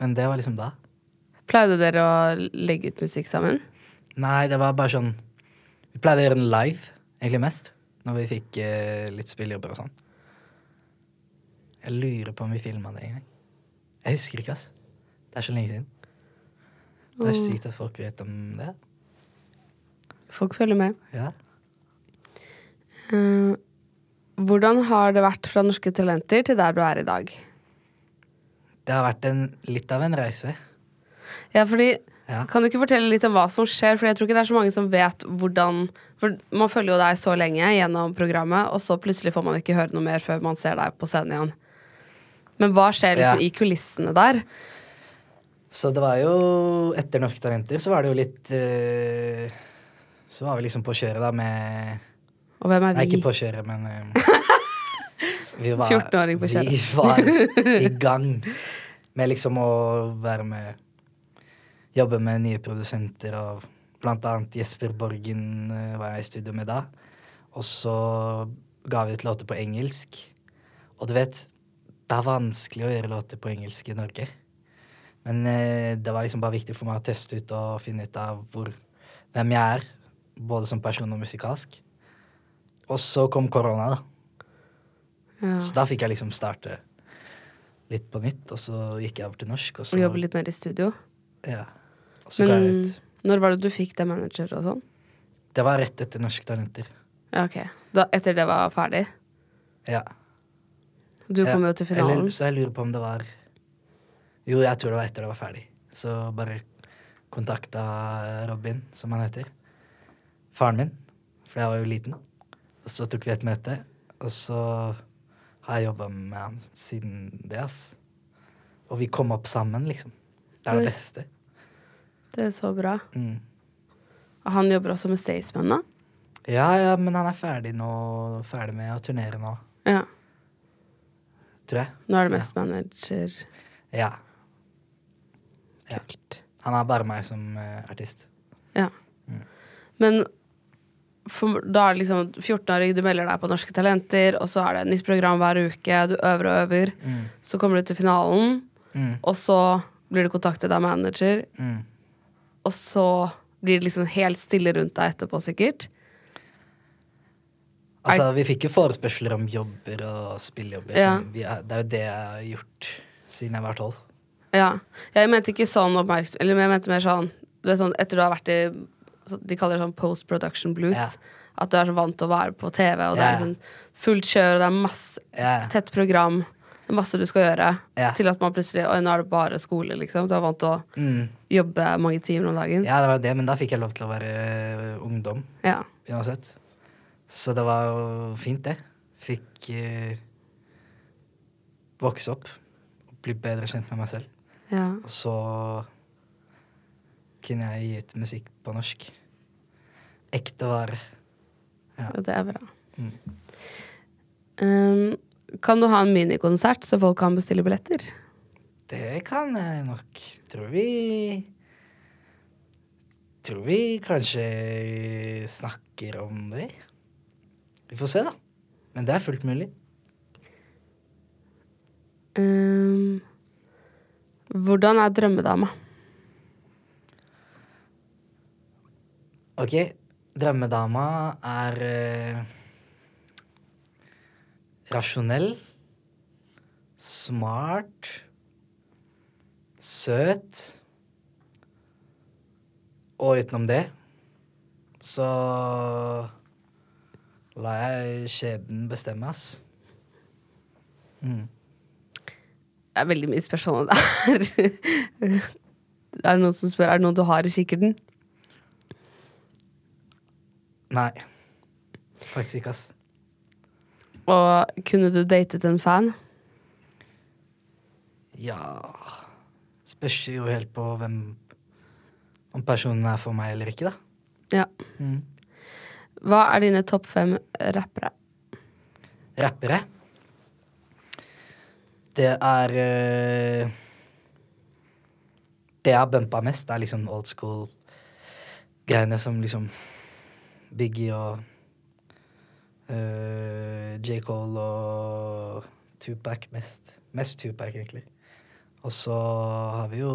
Speaker 1: Men det var liksom da.
Speaker 2: Pleide dere å legge ut musikk sammen?
Speaker 1: Nei, det var bare sånn Vi pleide å gjøre den live, egentlig mest, når vi fikk eh, litt spillejobber og sånn. Jeg lurer på om vi filma det en gang. Jeg husker ikke, ass. Det er så lenge siden. Det er sykt at folk vet om det.
Speaker 2: Folk følger med.
Speaker 1: Ja.
Speaker 2: Eh, hvordan har det vært fra Norske Talenter til der du er i dag?
Speaker 1: Det har vært en, litt av en reise.
Speaker 2: Ja, fordi
Speaker 1: Ja.
Speaker 2: Kan du ikke fortelle litt om hva som skjer? For jeg tror ikke det er så mange som vet hvordan For man følger jo deg så lenge gjennom programmet, og så plutselig får man ikke høre noe mer før man ser deg på scenen igjen. Men hva skjer liksom
Speaker 1: Ja.
Speaker 2: i kulissene der?
Speaker 1: Så det var jo Etter Norske Talenter så var det jo litt eh, Så var vi liksom på kjøret, da, med
Speaker 2: Og hvem er
Speaker 1: Nei,
Speaker 2: vi?
Speaker 1: ikke på kjøret, men eh, vi var-
Speaker 2: 14-åring på kjøret.
Speaker 1: Vi var i gang med liksom å være med Jobbe med nye produsenter og blant annet Jesper Borgen eh, var jeg i studio med da. Og så ga vi ut låter på engelsk. Og du vet, det er vanskelig å gjøre låter på engelsk i Norge. Men eh, det var liksom bare viktig for meg å teste ut og finne ut av hvor, hvem jeg er. Både som person og musikalsk. Og så kom korona, da.
Speaker 2: Ja.
Speaker 1: Så da fikk jeg liksom starte litt på nytt, og så gikk jeg over til norsk. Og så,
Speaker 2: Og jobber litt mer i studio.
Speaker 1: Ja. Og så ga jeg
Speaker 2: Men
Speaker 1: ut.
Speaker 2: når var det du fikk deg manager og sånn?
Speaker 1: Det var rett etter Norske Talenter.
Speaker 2: Ja, ok. Da, etter det var ferdig?
Speaker 1: Ja.
Speaker 2: Du
Speaker 1: Ja.
Speaker 2: kom jo til finalen.
Speaker 1: Eller, så jeg lurer på om det var Jo, jeg tror det var etter det var ferdig. Så bare kontakta Robin, som han heter, faren min, for jeg var jo liten. Og så tok vi et møte, og så har jeg jobba med han siden det, ass. Og vi kom opp sammen, liksom. Det er
Speaker 2: Oi.
Speaker 1: det beste.
Speaker 2: Det er så bra.
Speaker 1: Mm.
Speaker 2: Og han jobber også med Staysman, da?
Speaker 1: Ja, ja, men han er ferdig nå, ferdig med å turnere nå,
Speaker 2: Ja.
Speaker 1: tror jeg.
Speaker 2: Nå er det mest manager.
Speaker 1: Ja. Ja.
Speaker 2: Kult.
Speaker 1: Han har bare meg som eh, artist.
Speaker 2: Ja. Men for, da er det liksom 14-åring, du melder deg på Norske Talenter, og så er det et nytt program hver uke, du øver og øver. Så kommer du til finalen,
Speaker 1: Mm.
Speaker 2: og så blir du kontaktet av manager,
Speaker 1: Mm.
Speaker 2: og så blir det liksom helt stille rundt deg etterpå, sikkert.
Speaker 1: Altså, vi fikk jo forespørsler om jobber og spillejobber.
Speaker 2: Ja.
Speaker 1: som vi er- det er jo det jeg har gjort siden jeg var tolv.
Speaker 2: Ja. Jeg mente ikke sånn oppmerksom... Eller jeg mente mer sånn, du vet sånn Etter du har vært i så- De kaller det sånn post production blues.
Speaker 1: Ja.
Speaker 2: At du er så vant til å være på TV, og det
Speaker 1: Ja.
Speaker 2: er liksom fullt kjør, og det er masse
Speaker 1: Ja.
Speaker 2: tett program, det er masse du skal gjøre,
Speaker 1: Ja.
Speaker 2: til at man plutselig Oi, nå er det bare skole, liksom. Du er vant til å
Speaker 1: Mm.
Speaker 2: jobbe mange timer om dagen.
Speaker 1: Ja, det var jo det, men da fikk jeg lov til å være eh, ungdom
Speaker 2: Ja.
Speaker 1: uansett. Så det var jo fint, det. Fikk eh, vokse opp. Bli bedre kjent med meg selv.
Speaker 2: ja.
Speaker 1: Og så kunne jeg gi ut musikk på norsk. Ekte vare.
Speaker 2: Ja, Det er bra.
Speaker 1: Mm.
Speaker 2: Um, kan du ha en minikonsert, så folk kan bestille billetter?
Speaker 1: Det kan jeg nok. Tror vi Tror vi kanskje snakker om det. Vi får se, da. Men det er fullt mulig.
Speaker 2: Um, hvordan er drømmedama?
Speaker 1: OK, drømmedama er eh, rasjonell, smart, søt Og utenom det så lar jeg skjebnen bestemme, ass.
Speaker 2: Det er veldig mye spørsmål der. (laughs) er det noen som spør er det noe du har i kikkerten?
Speaker 1: Nei. Faktisk ikke, ass.
Speaker 2: Og kunne du datet en fan?
Speaker 1: Ja Spørs jo helt på hvem Om personen er for meg eller ikke, da.
Speaker 2: Ja.
Speaker 1: Mm.
Speaker 2: Hva er dine topp fem rappere?
Speaker 1: rappere. Det er eh, Det jeg har bumpa mest, er liksom old school-greiene som liksom Biggie og eh, J. Cole og Tupac mest. Mest Tupac, egentlig. Og så har vi jo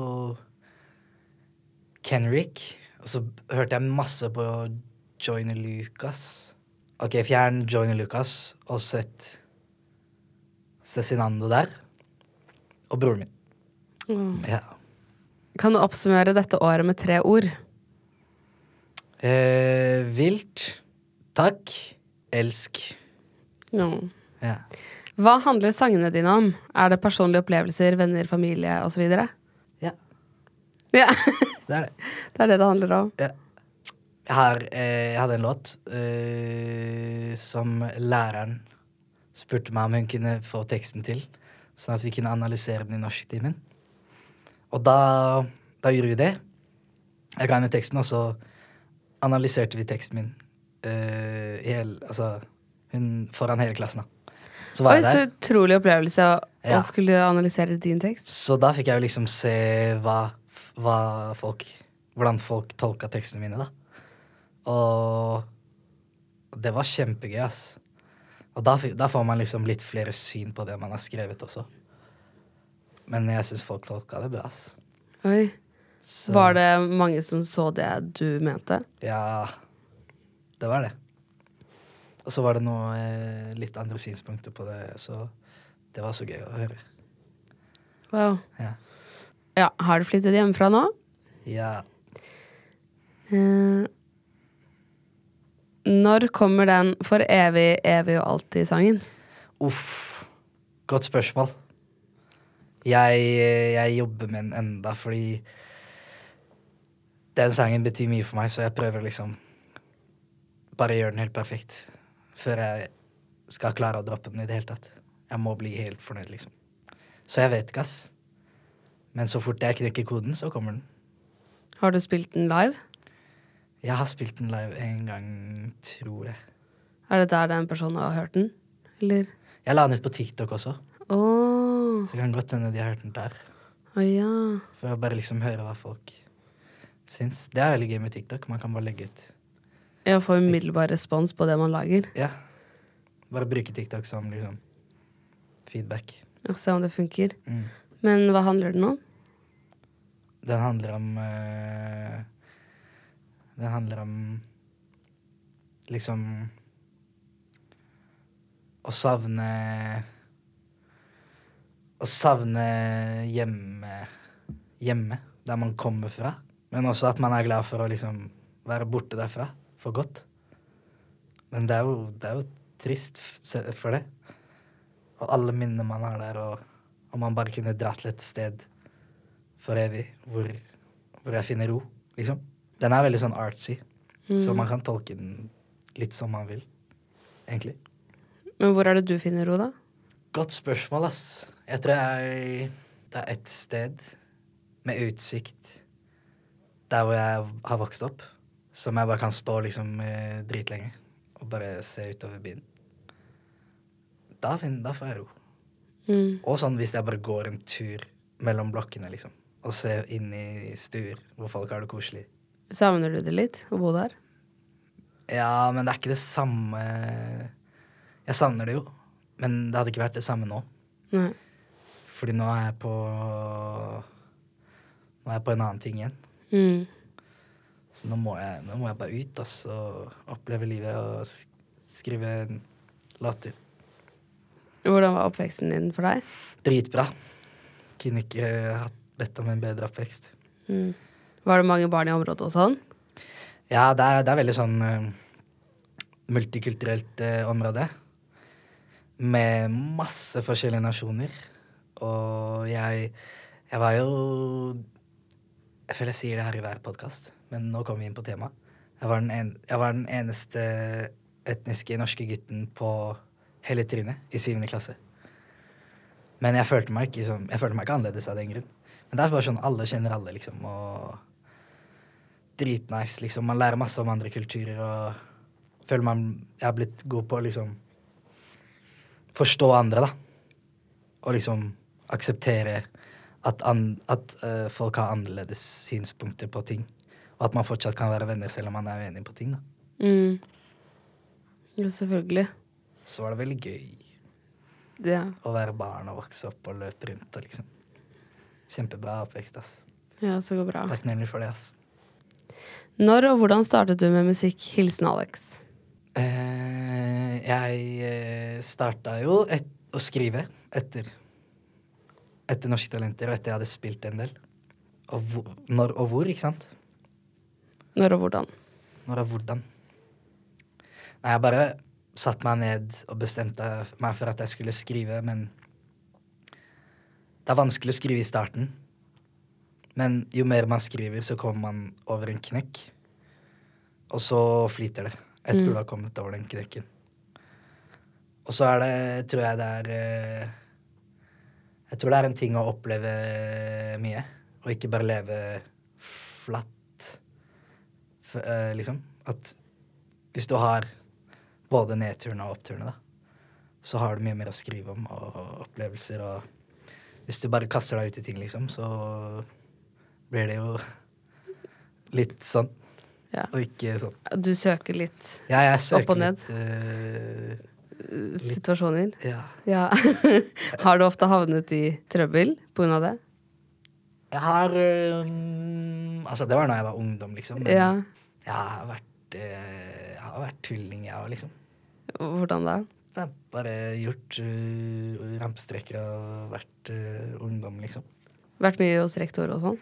Speaker 1: Kenrick. Og så hørte jeg masse på Joyner Lucas. OK, fjern Joyner Lucas og sett Cezinando der. Og broren min. Ja.
Speaker 2: Kan du oppsummere dette året med tre ord?
Speaker 1: Eh, vilt. Takk. Elsk.
Speaker 2: Ja.
Speaker 1: Ja.
Speaker 2: Hva handler sangene dine om? Er det personlige opplevelser, venner, familie osv.?
Speaker 1: ja.
Speaker 2: Ja, (laughs)
Speaker 1: Det er det.
Speaker 2: det er det det handler om.
Speaker 1: Ja. Jeg, har, eh, jeg hadde en låt eh, som læreren spurte meg om hun kunne få teksten til, sånn at vi kunne analysere den i norsktimen. Og da, da gjorde vi det. Jeg ga henne teksten, og så analyserte vi teksten min eh, i hel, altså, hun, foran hele klassen. Da. Så var
Speaker 2: Oi,
Speaker 1: jeg der.
Speaker 2: så utrolig opplevelse å,
Speaker 1: Ja.
Speaker 2: å skulle analysere din tekst.
Speaker 1: Så da fikk jeg jo liksom se hva, hva folk Hvordan folk tolka tekstene mine, da. Og det var kjempegøy, ass. Og da, fi- da får man liksom litt flere syn på det man har skrevet også. Men jeg syns folk tolka det bra, ass.
Speaker 2: Oi.
Speaker 1: Så-
Speaker 2: Var det mange som så det du mente?
Speaker 1: Ja, det var det. Og så var det noe eh, litt andre synspunkter på det, så det var så gøy å høre.
Speaker 2: Wow.
Speaker 1: Ja.
Speaker 2: Ja, har du flyttet hjemmefra nå?
Speaker 1: ja.
Speaker 2: Eh, når kommer den For evig, evig og alltid-sangen?
Speaker 1: Uff. Godt spørsmål. Jeg, jeg jobber med den enda, fordi den sangen betyr mye for meg, så jeg prøver liksom bare gjøre den helt perfekt før jeg skal klare å droppe den i det hele tatt. Jeg må bli helt fornøyd, liksom. Så jeg vet ikke, ass. Men så fort jeg knekker koden, så kommer den.
Speaker 2: Har du spilt den live?
Speaker 1: Jeg har spilt den live en gang, tror jeg.
Speaker 2: Er det der den personen har hørt den? Eller?
Speaker 1: Jeg la den ut på TikTok også,
Speaker 2: Å,
Speaker 1: så det kan godt hende de har hørt den der.
Speaker 2: å ja.
Speaker 1: For å bare liksom høre hva folk syns. Det er veldig gøy med TikTok. Man kan bare legge ut.
Speaker 2: Jeg får umiddelbar respons på det man lager.
Speaker 1: Ja. Bare bruke TikTok som liksom feedback.
Speaker 2: Og se om det funker.
Speaker 1: Mm.
Speaker 2: Men hva handler den om?
Speaker 1: Den handler om eh, Den handler om liksom Å savne Å savne hjemme hjemme, der man kommer fra. Men også at man er glad for å liksom være borte derfra for godt. Men det er jo, det er jo trist f- se- for det. Og alle minnene man har der, og om man bare kunne dratt til et sted for evig hvor, hvor jeg finner ro, liksom. Den er veldig sånn artsy, så man kan tolke den litt som man vil, egentlig.
Speaker 2: Men hvor er det du finner ro, da?
Speaker 1: Godt spørsmål, ass. Jeg tror jeg Det er ett sted med utsikt der hvor jeg har vokst opp, som jeg bare kan stå liksom eh, dritlenge og bare se utover byen. Da, fin, da får jeg ro.
Speaker 2: Mm.
Speaker 1: Og sånn hvis jeg bare går en tur mellom blokkene, liksom, og ser inn i stuer hvor folk har det koselig.
Speaker 2: Savner du det litt å bo der?
Speaker 1: Ja, men det er ikke det samme Jeg savner det jo, men det hadde ikke vært det samme nå.
Speaker 2: Nei.
Speaker 1: Fordi nå er jeg på Nå er jeg på en annen ting igjen.
Speaker 2: Mm.
Speaker 1: Så nå må jeg, nå må jeg bare ut ass, og oppleve livet og sk- skrive låter.
Speaker 2: Hvordan var oppveksten din for deg?
Speaker 1: Dritbra. Kunne ikke hatt bedt om en bedre oppvekst.
Speaker 2: Var det mange barn i området og sånn?
Speaker 1: Ja, det er, det er veldig sånn eh, multikulturelt eh, område. Med masse forskjellige nasjoner. Og jeg Jeg var jo Jeg føler jeg sier det her i hver podkast, men nå kommer vi inn på temaet. Jeg var den, en, jeg var den eneste etniske norske gutten på hele trinnet i syvende klasse. Men jeg følte meg ikke, som, jeg følte meg ikke annerledes av den grunn. Men det er bare sånn alle kjenner alle, liksom. og dritnice, liksom. Man lærer masse om andre kulturer og føler man Jeg har blitt god på å liksom forstå andre, da. Og liksom akseptere at, an, at eh, folk har annerledes synspunkter på ting. Og at man fortsatt kan være venner selv om man er uenig på ting. da.
Speaker 2: Mm. Ja, selvfølgelig.
Speaker 1: så var det veldig gøy
Speaker 2: Ja.
Speaker 1: å være barn og vokse opp og løpe rundt og liksom. Kjempebra oppvekst, ass.
Speaker 2: ja, så går bra.
Speaker 1: Takknemlig for det, ass.
Speaker 2: Når og hvordan startet du med musikk? Hilsen Alex.
Speaker 1: Eh, jeg eh, starta jo et, å skrive etter Etter Norske Talenter og etter jeg hadde spilt en del. Og hvor, når og hvor, ikke sant?
Speaker 2: Når og hvordan?
Speaker 1: Når og hvordan. Nei, jeg bare satte meg ned og bestemte meg for at jeg skulle skrive, men Det er vanskelig å skrive i starten. Men jo mer man skriver, så kommer man over en knekk. Og så flyter det etter du har kommet over den knekken. Og så er det, tror jeg det er eh, Jeg tror det er en ting å oppleve mye, og ikke bare leve flatt, f eh, liksom. At hvis du har både nedturene og oppturene, da, så har du mye mer å skrive om og opplevelser og Hvis du bare kaster deg ut i ting, liksom, så blir det jo litt sånn,
Speaker 2: Ja.
Speaker 1: og ikke sånn.
Speaker 2: Du søker litt
Speaker 1: Ja, jeg søker
Speaker 2: Opp og ned.
Speaker 1: litt,
Speaker 2: eh, situasjoner?
Speaker 1: eh, ja.
Speaker 2: Ja. (laughs) Har du ofte havnet i trøbbel pga. det?
Speaker 1: Jeg har øhm, Altså, det var da jeg var ungdom, liksom. Men
Speaker 2: Ja.
Speaker 1: jeg har vært eh, Jeg har vært tulling, jeg òg, liksom.
Speaker 2: Hvordan da?
Speaker 1: Jeg har bare gjort øh, rampestreker og vært øh, ungdom, liksom.
Speaker 2: Vært mye hos rektor og sånn?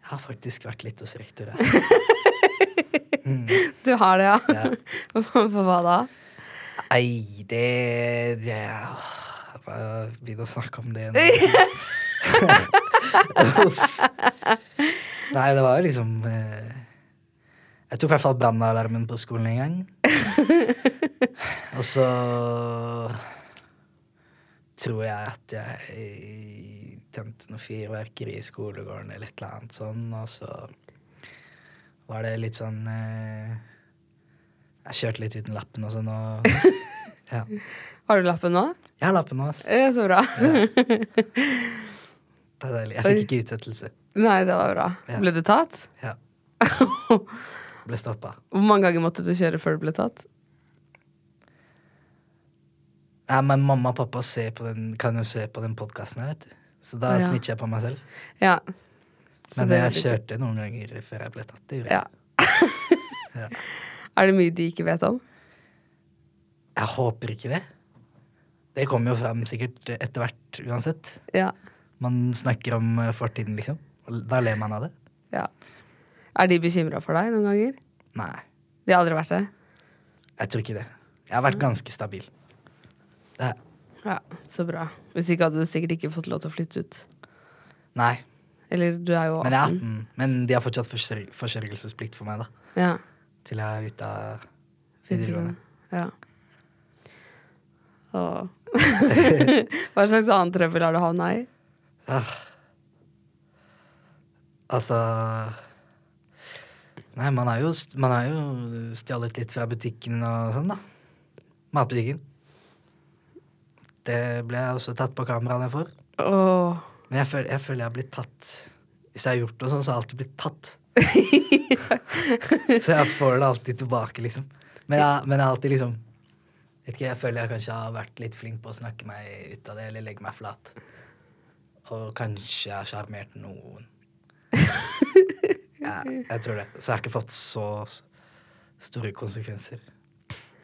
Speaker 1: Jeg har faktisk vært litt hos rektor. Jeg.
Speaker 2: Du har det, ja? (laughs)
Speaker 1: Ja.
Speaker 2: For hva da?
Speaker 1: Nei, det, det åh, Bare begynne å snakke om det nå. Uff. Nei, det var jo liksom eh, Jeg tok i hvert fall brannalarmen på skolen en gang. Og så tror jeg at jeg tente noe fyrverkeri i skolegården eller et eller annet sånn, og så var det litt sånn eh, Jeg kjørte litt uten lappen og sånn, og ja.
Speaker 2: Mm. Har du lappen nå?
Speaker 1: Jeg har lappen nå, ass.
Speaker 2: Eh, Så bra.
Speaker 1: Det er deilig. Jeg fikk ikke utsettelse.
Speaker 2: (laughs) Nei, det var bra.
Speaker 1: Ja.
Speaker 2: Ble du tatt? (laughs)
Speaker 1: Ja. Ble stoppa.
Speaker 2: Hvor mange ganger måtte du kjøre før du ble tatt?
Speaker 1: Nei, men mamma og pappa ser på den, kan jo se på den podkasten her, vet du. Så da
Speaker 2: Å, ja.
Speaker 1: snitcher jeg på meg selv.
Speaker 2: Ja. Så
Speaker 1: Men
Speaker 2: det
Speaker 1: jeg
Speaker 2: var litt-
Speaker 1: kjørte noen ganger før jeg ble tatt. Det (laughs) gjorde jeg.
Speaker 2: Ja. Er det mye de ikke vet om?
Speaker 1: Jeg håper ikke det. Det kommer jo fram sikkert etter hvert uansett.
Speaker 2: Ja.
Speaker 1: Man snakker om eh, fortiden, liksom. Og da ler man av det.
Speaker 2: ja. Er de bekymra for deg noen ganger?
Speaker 1: Nei,
Speaker 2: De har aldri vært det?
Speaker 1: jeg tror ikke det. Jeg har
Speaker 2: Mm.
Speaker 1: vært ganske stabil. Det er-
Speaker 2: Ja, så bra. Hvis ikke hadde du sikkert ikke fått lov til å flytte ut.
Speaker 1: Nei,
Speaker 2: Eller du er jo
Speaker 1: men jeg er
Speaker 2: 18.
Speaker 1: 18. Men de har fortsatt forsørg forsørgelsesplikt for meg, da.
Speaker 2: Ja.
Speaker 1: Til jeg er ute av videregående.
Speaker 2: Ja. (laughs) Åh. (laughs) Hva slags annen trøbbel har du havna i?
Speaker 1: Altså Nei, man har jo, st- man har jo stjålet litt fra butikken og sånn, da. Matbutikken. Det ble jeg også tatt på kamera der for.
Speaker 2: Åh.
Speaker 1: Men jeg føler, jeg føler jeg har blitt tatt. Hvis jeg har gjort noe sånn, så har jeg alltid blitt tatt. så jeg får det alltid tilbake, liksom. Men jeg, men jeg har alltid liksom vet ikke, Jeg føler jeg kanskje har vært litt flink på å snakke meg ut av det, eller legge meg flat. Og kanskje jeg har sjarmert noen. ja, jeg tror det. Så jeg har ikke fått så store konsekvenser.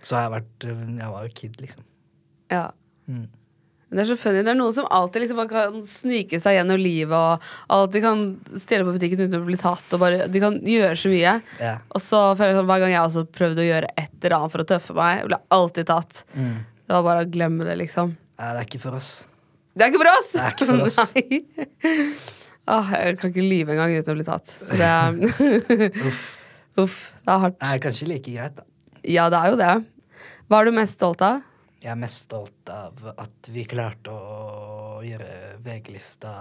Speaker 1: Så jeg har vært eh, Jeg var jo kid, liksom.
Speaker 2: Ja.
Speaker 1: Mm.
Speaker 2: Det er så funny. Det er noen som alltid liksom bare kan snike seg gjennom livet og alltid kan stjele på butikken uten å bli tatt. Og bare, de kan gjøre så mye.
Speaker 1: Ja.
Speaker 2: Og så føler jeg sånn, Hver gang jeg også prøvde å gjøre et eller annet for å tøffe meg, ble jeg alltid tatt.
Speaker 1: Mm.
Speaker 2: Det var bare å glemme det, liksom.
Speaker 1: Nei, det er ikke for oss.
Speaker 2: Det er ikke for oss!
Speaker 1: er ikke for oss.
Speaker 2: (laughs) Nei. Åh, jeg kan ikke lyve engang uten å bli tatt. Så det er
Speaker 1: (laughs)
Speaker 2: Uff. Det er hardt.
Speaker 1: Det er kanskje like greit, da.
Speaker 2: Ja, det er jo det. Hva er du mest stolt av?
Speaker 1: Jeg er mest stolt av at vi klarte å gjøre VG-lista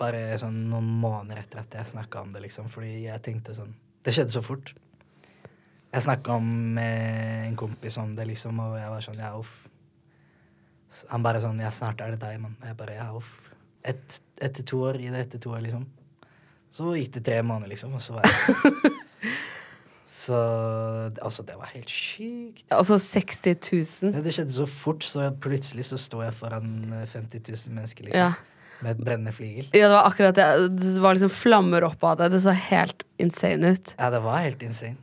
Speaker 1: bare sånn noen måneder etter at jeg snakka om det, liksom. Fordi jeg tenkte sånn Det skjedde så fort. Jeg snakka om eh, en kompis om det, liksom, og jeg var sånn Ja, uff. Så Han bare sånn Ja, snart er det deg, mann. Og Jeg bare Ja, uff. Et, etter to år i det, etter to år, liksom. Så gikk det tre måneder, liksom, og så var jeg Så altså, det var helt sykt.
Speaker 2: Altså 60 000.
Speaker 1: Det, det skjedde så fort, så plutselig så sto jeg foran eh, 50 000 mennesker liksom,
Speaker 2: Ja.
Speaker 1: med et brennende flygel.
Speaker 2: ja, det var akkurat det. Det var liksom flammer opp av det. Det så helt insane ut.
Speaker 1: Ja, det var helt insane.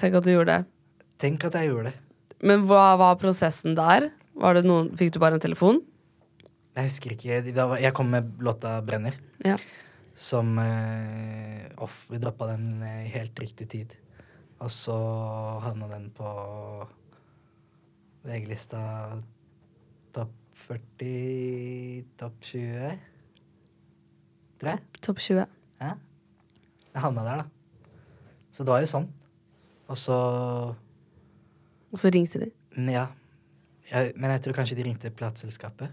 Speaker 2: Tenk at du gjorde det.
Speaker 1: Tenk at jeg gjorde det.
Speaker 2: Men hva var prosessen der? Var det noen, fikk du bare en telefon?
Speaker 1: Jeg husker ikke. Da var, jeg kom med låta 'Brenner',
Speaker 2: Ja.
Speaker 1: som eh, off, Vi droppa den eh, i helt riktig tid. Og så havna den på VG-lista topp 40, topp 20, tror jeg.
Speaker 2: Topp 20.
Speaker 1: Ja. Jeg havna der, da. Så det var jo sånn. Og så
Speaker 2: Og så ringte de.
Speaker 1: Ja. Jeg, men jeg tror kanskje de ringte plateselskapet.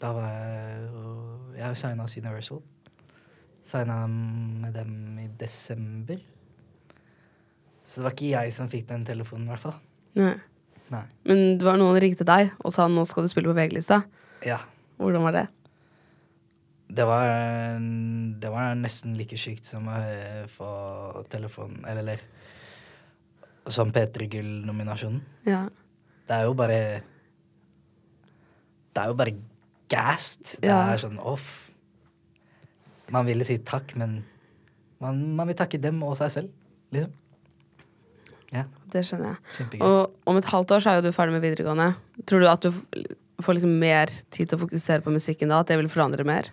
Speaker 1: Da var jeg jo- Jeg har jo signa hos Universal. Signa med dem i desember. Så det var ikke jeg som fikk den telefonen, i hvert fall.
Speaker 2: Nei.
Speaker 1: Nei.
Speaker 2: Men det var noen ringte deg og sa nå skal du spille på VG-lista.
Speaker 1: Ja.
Speaker 2: Hvordan var det?
Speaker 1: Det var, det var nesten like sykt som å eh, få telefonen Eller, eller som P3 Gull-nominasjonen.
Speaker 2: Ja.
Speaker 1: Det er jo bare Det er jo bare gassed. Det
Speaker 2: Ja.
Speaker 1: er sånn off. Man ville si takk, men man, man vil takke dem og seg selv, liksom. Ja.
Speaker 2: Det skjønner jeg.
Speaker 1: Kjempegøy.
Speaker 2: Og om et halvt år så er jo du ferdig med videregående. Tror du at du f- får liksom mer tid til å fokusere på musikken da? At det vil forandre mer?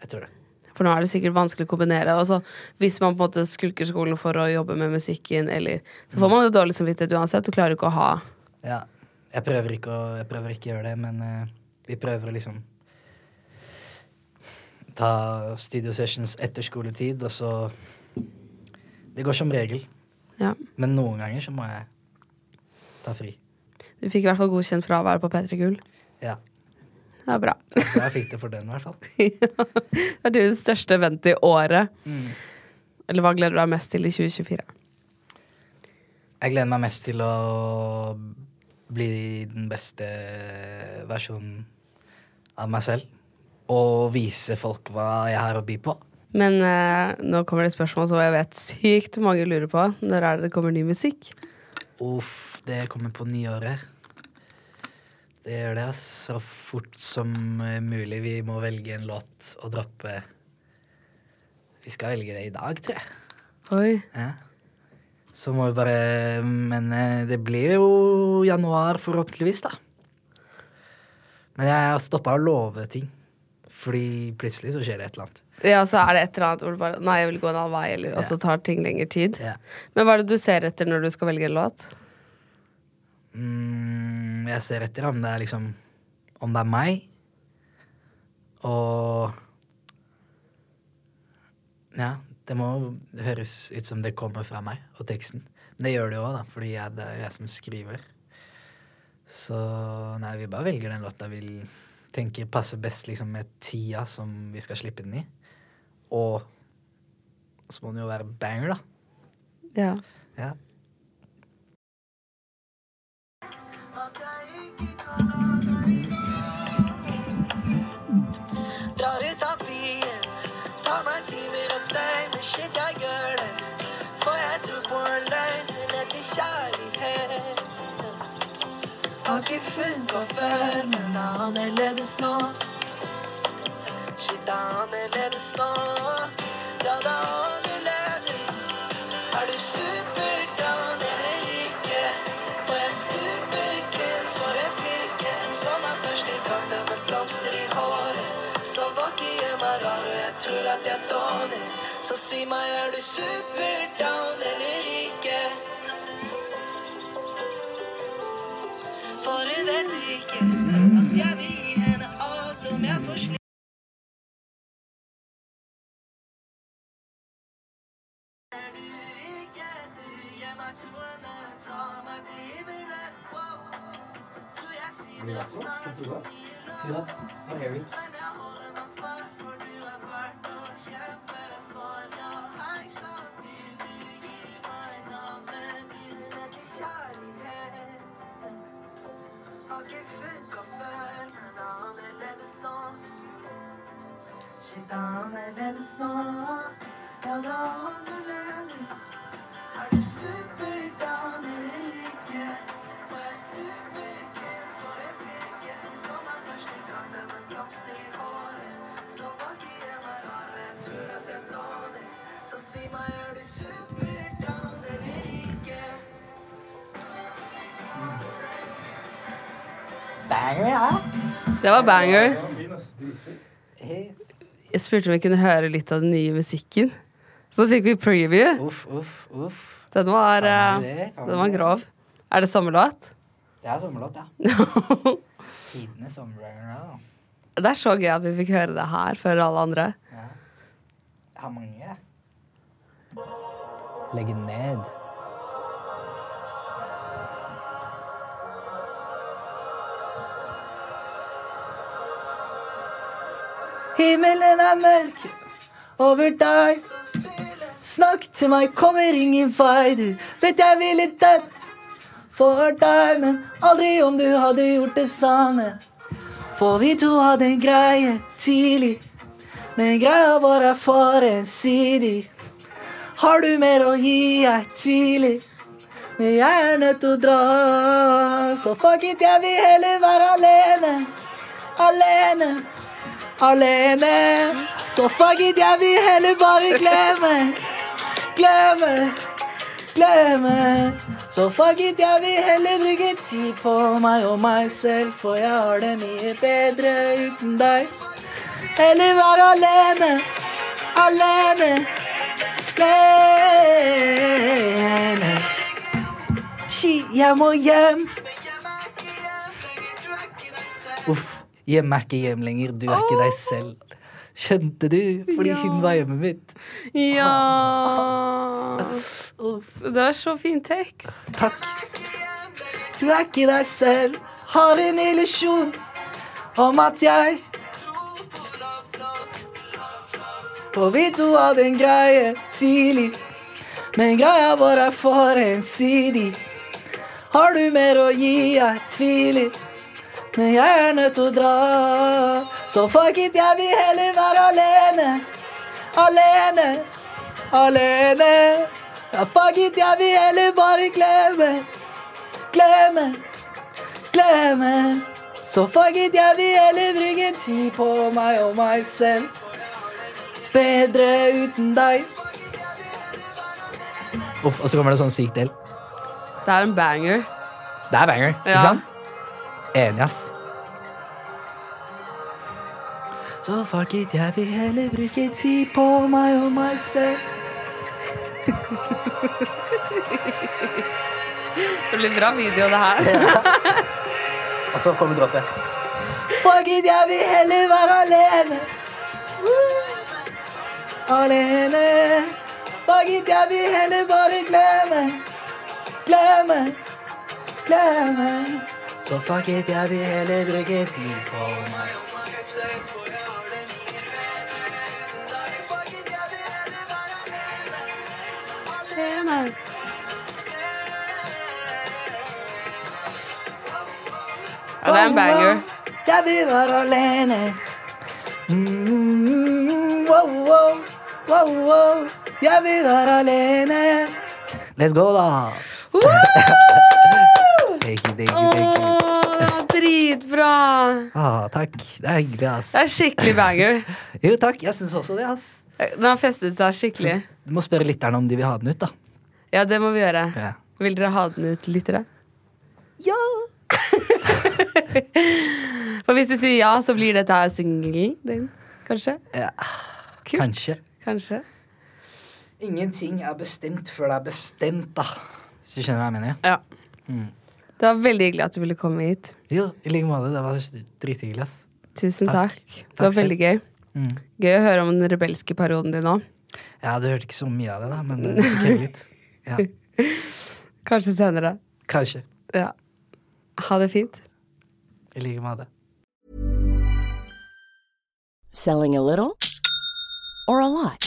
Speaker 1: Jeg tror det.
Speaker 2: For nå er det sikkert vanskelig å kombinere. Og så hvis man på en måte skulker skolen for å jobbe med musikken, eller Så får man jo dårlig samvittighet uansett. Du klarer jo ikke å ha
Speaker 1: Ja. Jeg prøver ikke å, jeg prøver ikke å gjøre det, men eh, vi prøver å liksom ta studio sessions etter skoletid, og så Det går som regel.
Speaker 2: Ja.
Speaker 1: Men noen ganger så må jeg ta fri.
Speaker 2: Du fikk i hvert fall godkjent fraværet på P3 Gull.
Speaker 1: Ja.
Speaker 2: Det er bra. (laughs)
Speaker 1: Så jeg fikk det for den, i hvert fall.
Speaker 2: Det er det største eventet i året. Eller hva gleder du deg mest til i 2024?
Speaker 1: Jeg gleder meg mest til å bli den beste versjonen av meg selv. Og vise folk hva jeg har å by på.
Speaker 2: Men eh, nå kommer det spørsmål som jeg vet sykt mange lurer på. Når er det det kommer ny musikk?
Speaker 1: Uff, det kommer på nyåret. Det gjør det, ass. Så fort som eh, mulig. Vi må velge en låt og droppe Vi skal velge det i dag, tror jeg.
Speaker 2: Oi.
Speaker 1: Ja. Så må vi bare Men eh, det blir jo januar, forhåpentligvis, da. Men jeg har stoppa å love ting. Fordi plutselig så skjer det et eller annet.
Speaker 2: Ja, så er det et eller annet hvor du bare Nei, jeg vil gå en annen vei, eller Og så tar ting lengre tid.
Speaker 1: Ja.
Speaker 2: Men hva er det du ser etter når du skal velge en låt?
Speaker 1: Mm, jeg ser etter om det er liksom Om det er meg. Og Ja, det må høres ut som det kommer fra meg og teksten. Men det gjør det jo òg, da, fordi jeg, det er jeg som skriver. Så nei, vi bare velger den låta vi tenker passer best liksom, med tida som vi skal slippe den i. Og så må den jo være banger, da.
Speaker 2: Ja.
Speaker 1: Ja.
Speaker 6: Drar ut av byen, tar meg timer og døgn. Men shit, jeg gjør det. For jeg tror på en løgn. Hun heter kjærlighet. Har ikke funnet på før, men det er annerledes nå. Shit, det er annerledes nå. Ja, det er annerledes. Er du superdown eller ikke? For jeg stuper kun for en flykke som så meg første gang. Det med blomster i håret som vakker gjør meg rar, og jeg tror at jeg dåner. Så si meg, er du superdown eller ikke? For hun vet ikke at jeg vil gi henne alt om jeg får slippe. Shit, annerledes nå. Banger, ja.
Speaker 2: Det var banger. Jeg spurte om vi kunne høre litt av den nye musikken. Så fikk vi preview.
Speaker 1: Uff, uff, uff.
Speaker 2: Den var,
Speaker 1: Kan vi
Speaker 2: eh,
Speaker 1: det? Kan vi
Speaker 2: den var
Speaker 1: det?
Speaker 2: grov. Er det sommerlåt? (laughs)
Speaker 1: Det er sommerlåt, ja. Tidenes sommerrunner, da.
Speaker 2: Det er så gøy at vi fikk høre det her før alle andre.
Speaker 1: Jeg har mange, jeg. Legge ned. Himmelen er mørk over deg. Snakk til meg, kommer ingen vei. Du vet jeg ville dødd for deg, men aldri om du hadde gjort det samme. For vi to hadde en greie tidlig, men greia vår er for ensidig. Har du mer å gi, jeg tviler. Men jeg er nødt til å dra, så fuck it, jeg vil heller være alene. Alene alene. Så fuck it, jeg vil heller bare glemme. Glemme, glemme. Så fuck it, jeg vil heller bruke tid på meg og meg selv, for jeg har det mye bedre uten deg. Heller være alene, alene, alene. Ski, jeg må hjem. Uff. Hjemme er ikke hjem lenger. Du er ikke deg selv. Skjønte du? Fordi hun var hjemmet mitt.
Speaker 2: (laughs) Ja
Speaker 1: Uff.
Speaker 2: Det var så fin tekst.
Speaker 1: Takk. Du er ikke deg selv. Har en illusjon om at jeg For vi to hadde en greie tidlig, men greia vår er for ensidig. Har du mer å gi, jeg tviler. Men jeg er nødt til å dra, så fuck it, jeg vil heller være alene. Alene, alene. Ja, fuck it, jeg vil heller bare glemme. Glemme, glemme. Så fuck it, jeg vil heller bruke tid på meg og meg selv. Bedre uten deg. og så kommer det sånn sykt del.
Speaker 2: Det er en banger.
Speaker 1: Det er banger,
Speaker 2: Ja.
Speaker 1: ikke sant? Enig, ass. Så fuck it, jeg vil heller bruke tid på meg og meg selv.
Speaker 2: Det blir bra video, det her.
Speaker 1: Og så kommer dråpen. Fuck it, jeg vil heller være alene. Uh, Alene. Fuck it, jeg vil heller bare glemme. Glemme. Glemme. Så fuck it, jeg vil heller bruke tid på meg.
Speaker 2: Ja, det er en banger.
Speaker 1: Jeg vil være alene. Mm, wow, wow, wow, wow. Jeg vil være alene. Let's go, da. (laughs) Thank you, thank you,
Speaker 2: Åh,
Speaker 1: thank you.
Speaker 2: det var dritbra!
Speaker 1: Ah, takk. Det er hyggelig, ass.
Speaker 2: Det er skikkelig banger.
Speaker 1: Jo, takk. Jeg syns også det, ass.
Speaker 2: Den har festet seg skikkelig.
Speaker 1: Du må spørre lytterne om de vil ha den ut, da.
Speaker 2: Ja, det må vi gjøre.
Speaker 1: Ja.
Speaker 2: Vil dere ha den ut, lyttere? Ja! (laughs) For hvis du sier ja, så blir dette her singelen din, kanskje?
Speaker 1: Ja.
Speaker 2: Kult.
Speaker 1: Kanskje.
Speaker 2: Kanskje.
Speaker 1: Ingenting er bestemt før det er bestemt, da. Hvis du skjønner hva jeg mener?
Speaker 2: Ja.
Speaker 1: Mm.
Speaker 2: Det var veldig hyggelig at du ville komme hit.
Speaker 1: Jo, i like måte. Det var drithyggelig, ass.
Speaker 2: Tusen
Speaker 1: Takk.
Speaker 2: takk. Det var
Speaker 1: Takk selv.
Speaker 2: veldig gøy.
Speaker 1: Mm.
Speaker 2: Gøy å høre om den rebelske perioden din òg.
Speaker 1: Ja, du hørte ikke så mye av det, da, (laughs) men eh, fikk høre litt. Ja,
Speaker 2: Kanskje senere.
Speaker 1: kanskje.
Speaker 2: Ja. Ha det fint.
Speaker 1: I like måte.
Speaker 3: Selling a little or a lot?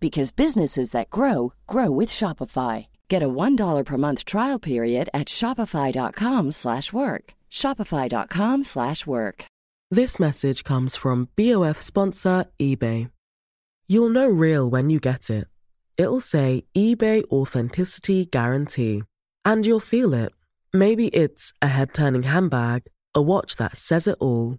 Speaker 3: because businesses that grow grow with Shopify. Get a $1 per month trial period at shopify.com/work. slash work. shopify.com/work. slash work.
Speaker 7: This message comes from BOF sponsor eBay. You'll know real when you get it. It'll say eBay Authenticity Guarantee. And you'll feel it. Maybe it's a head turning handbag, a watch that says it all,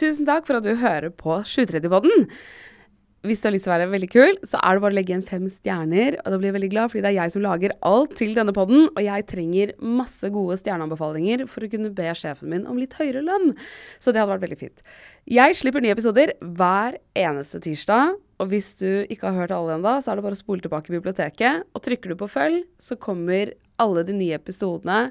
Speaker 2: Tusen takk for at du hører på 730-podden. Hvis du har lyst til å være veldig kul, så er det bare å legge igjen fem stjerner. Og da blir jeg veldig glad, fordi det er jeg som lager alt til denne podden. Og jeg trenger masse gode stjerneanbefalinger for å kunne be sjefen min om litt høyere lønn. Så det hadde vært veldig fint. Jeg slipper nye episoder hver eneste tirsdag. Og hvis du ikke har hørt alle ennå, så er det bare å spole tilbake i biblioteket. Og trykker du på følg, så kommer alle de nye episodene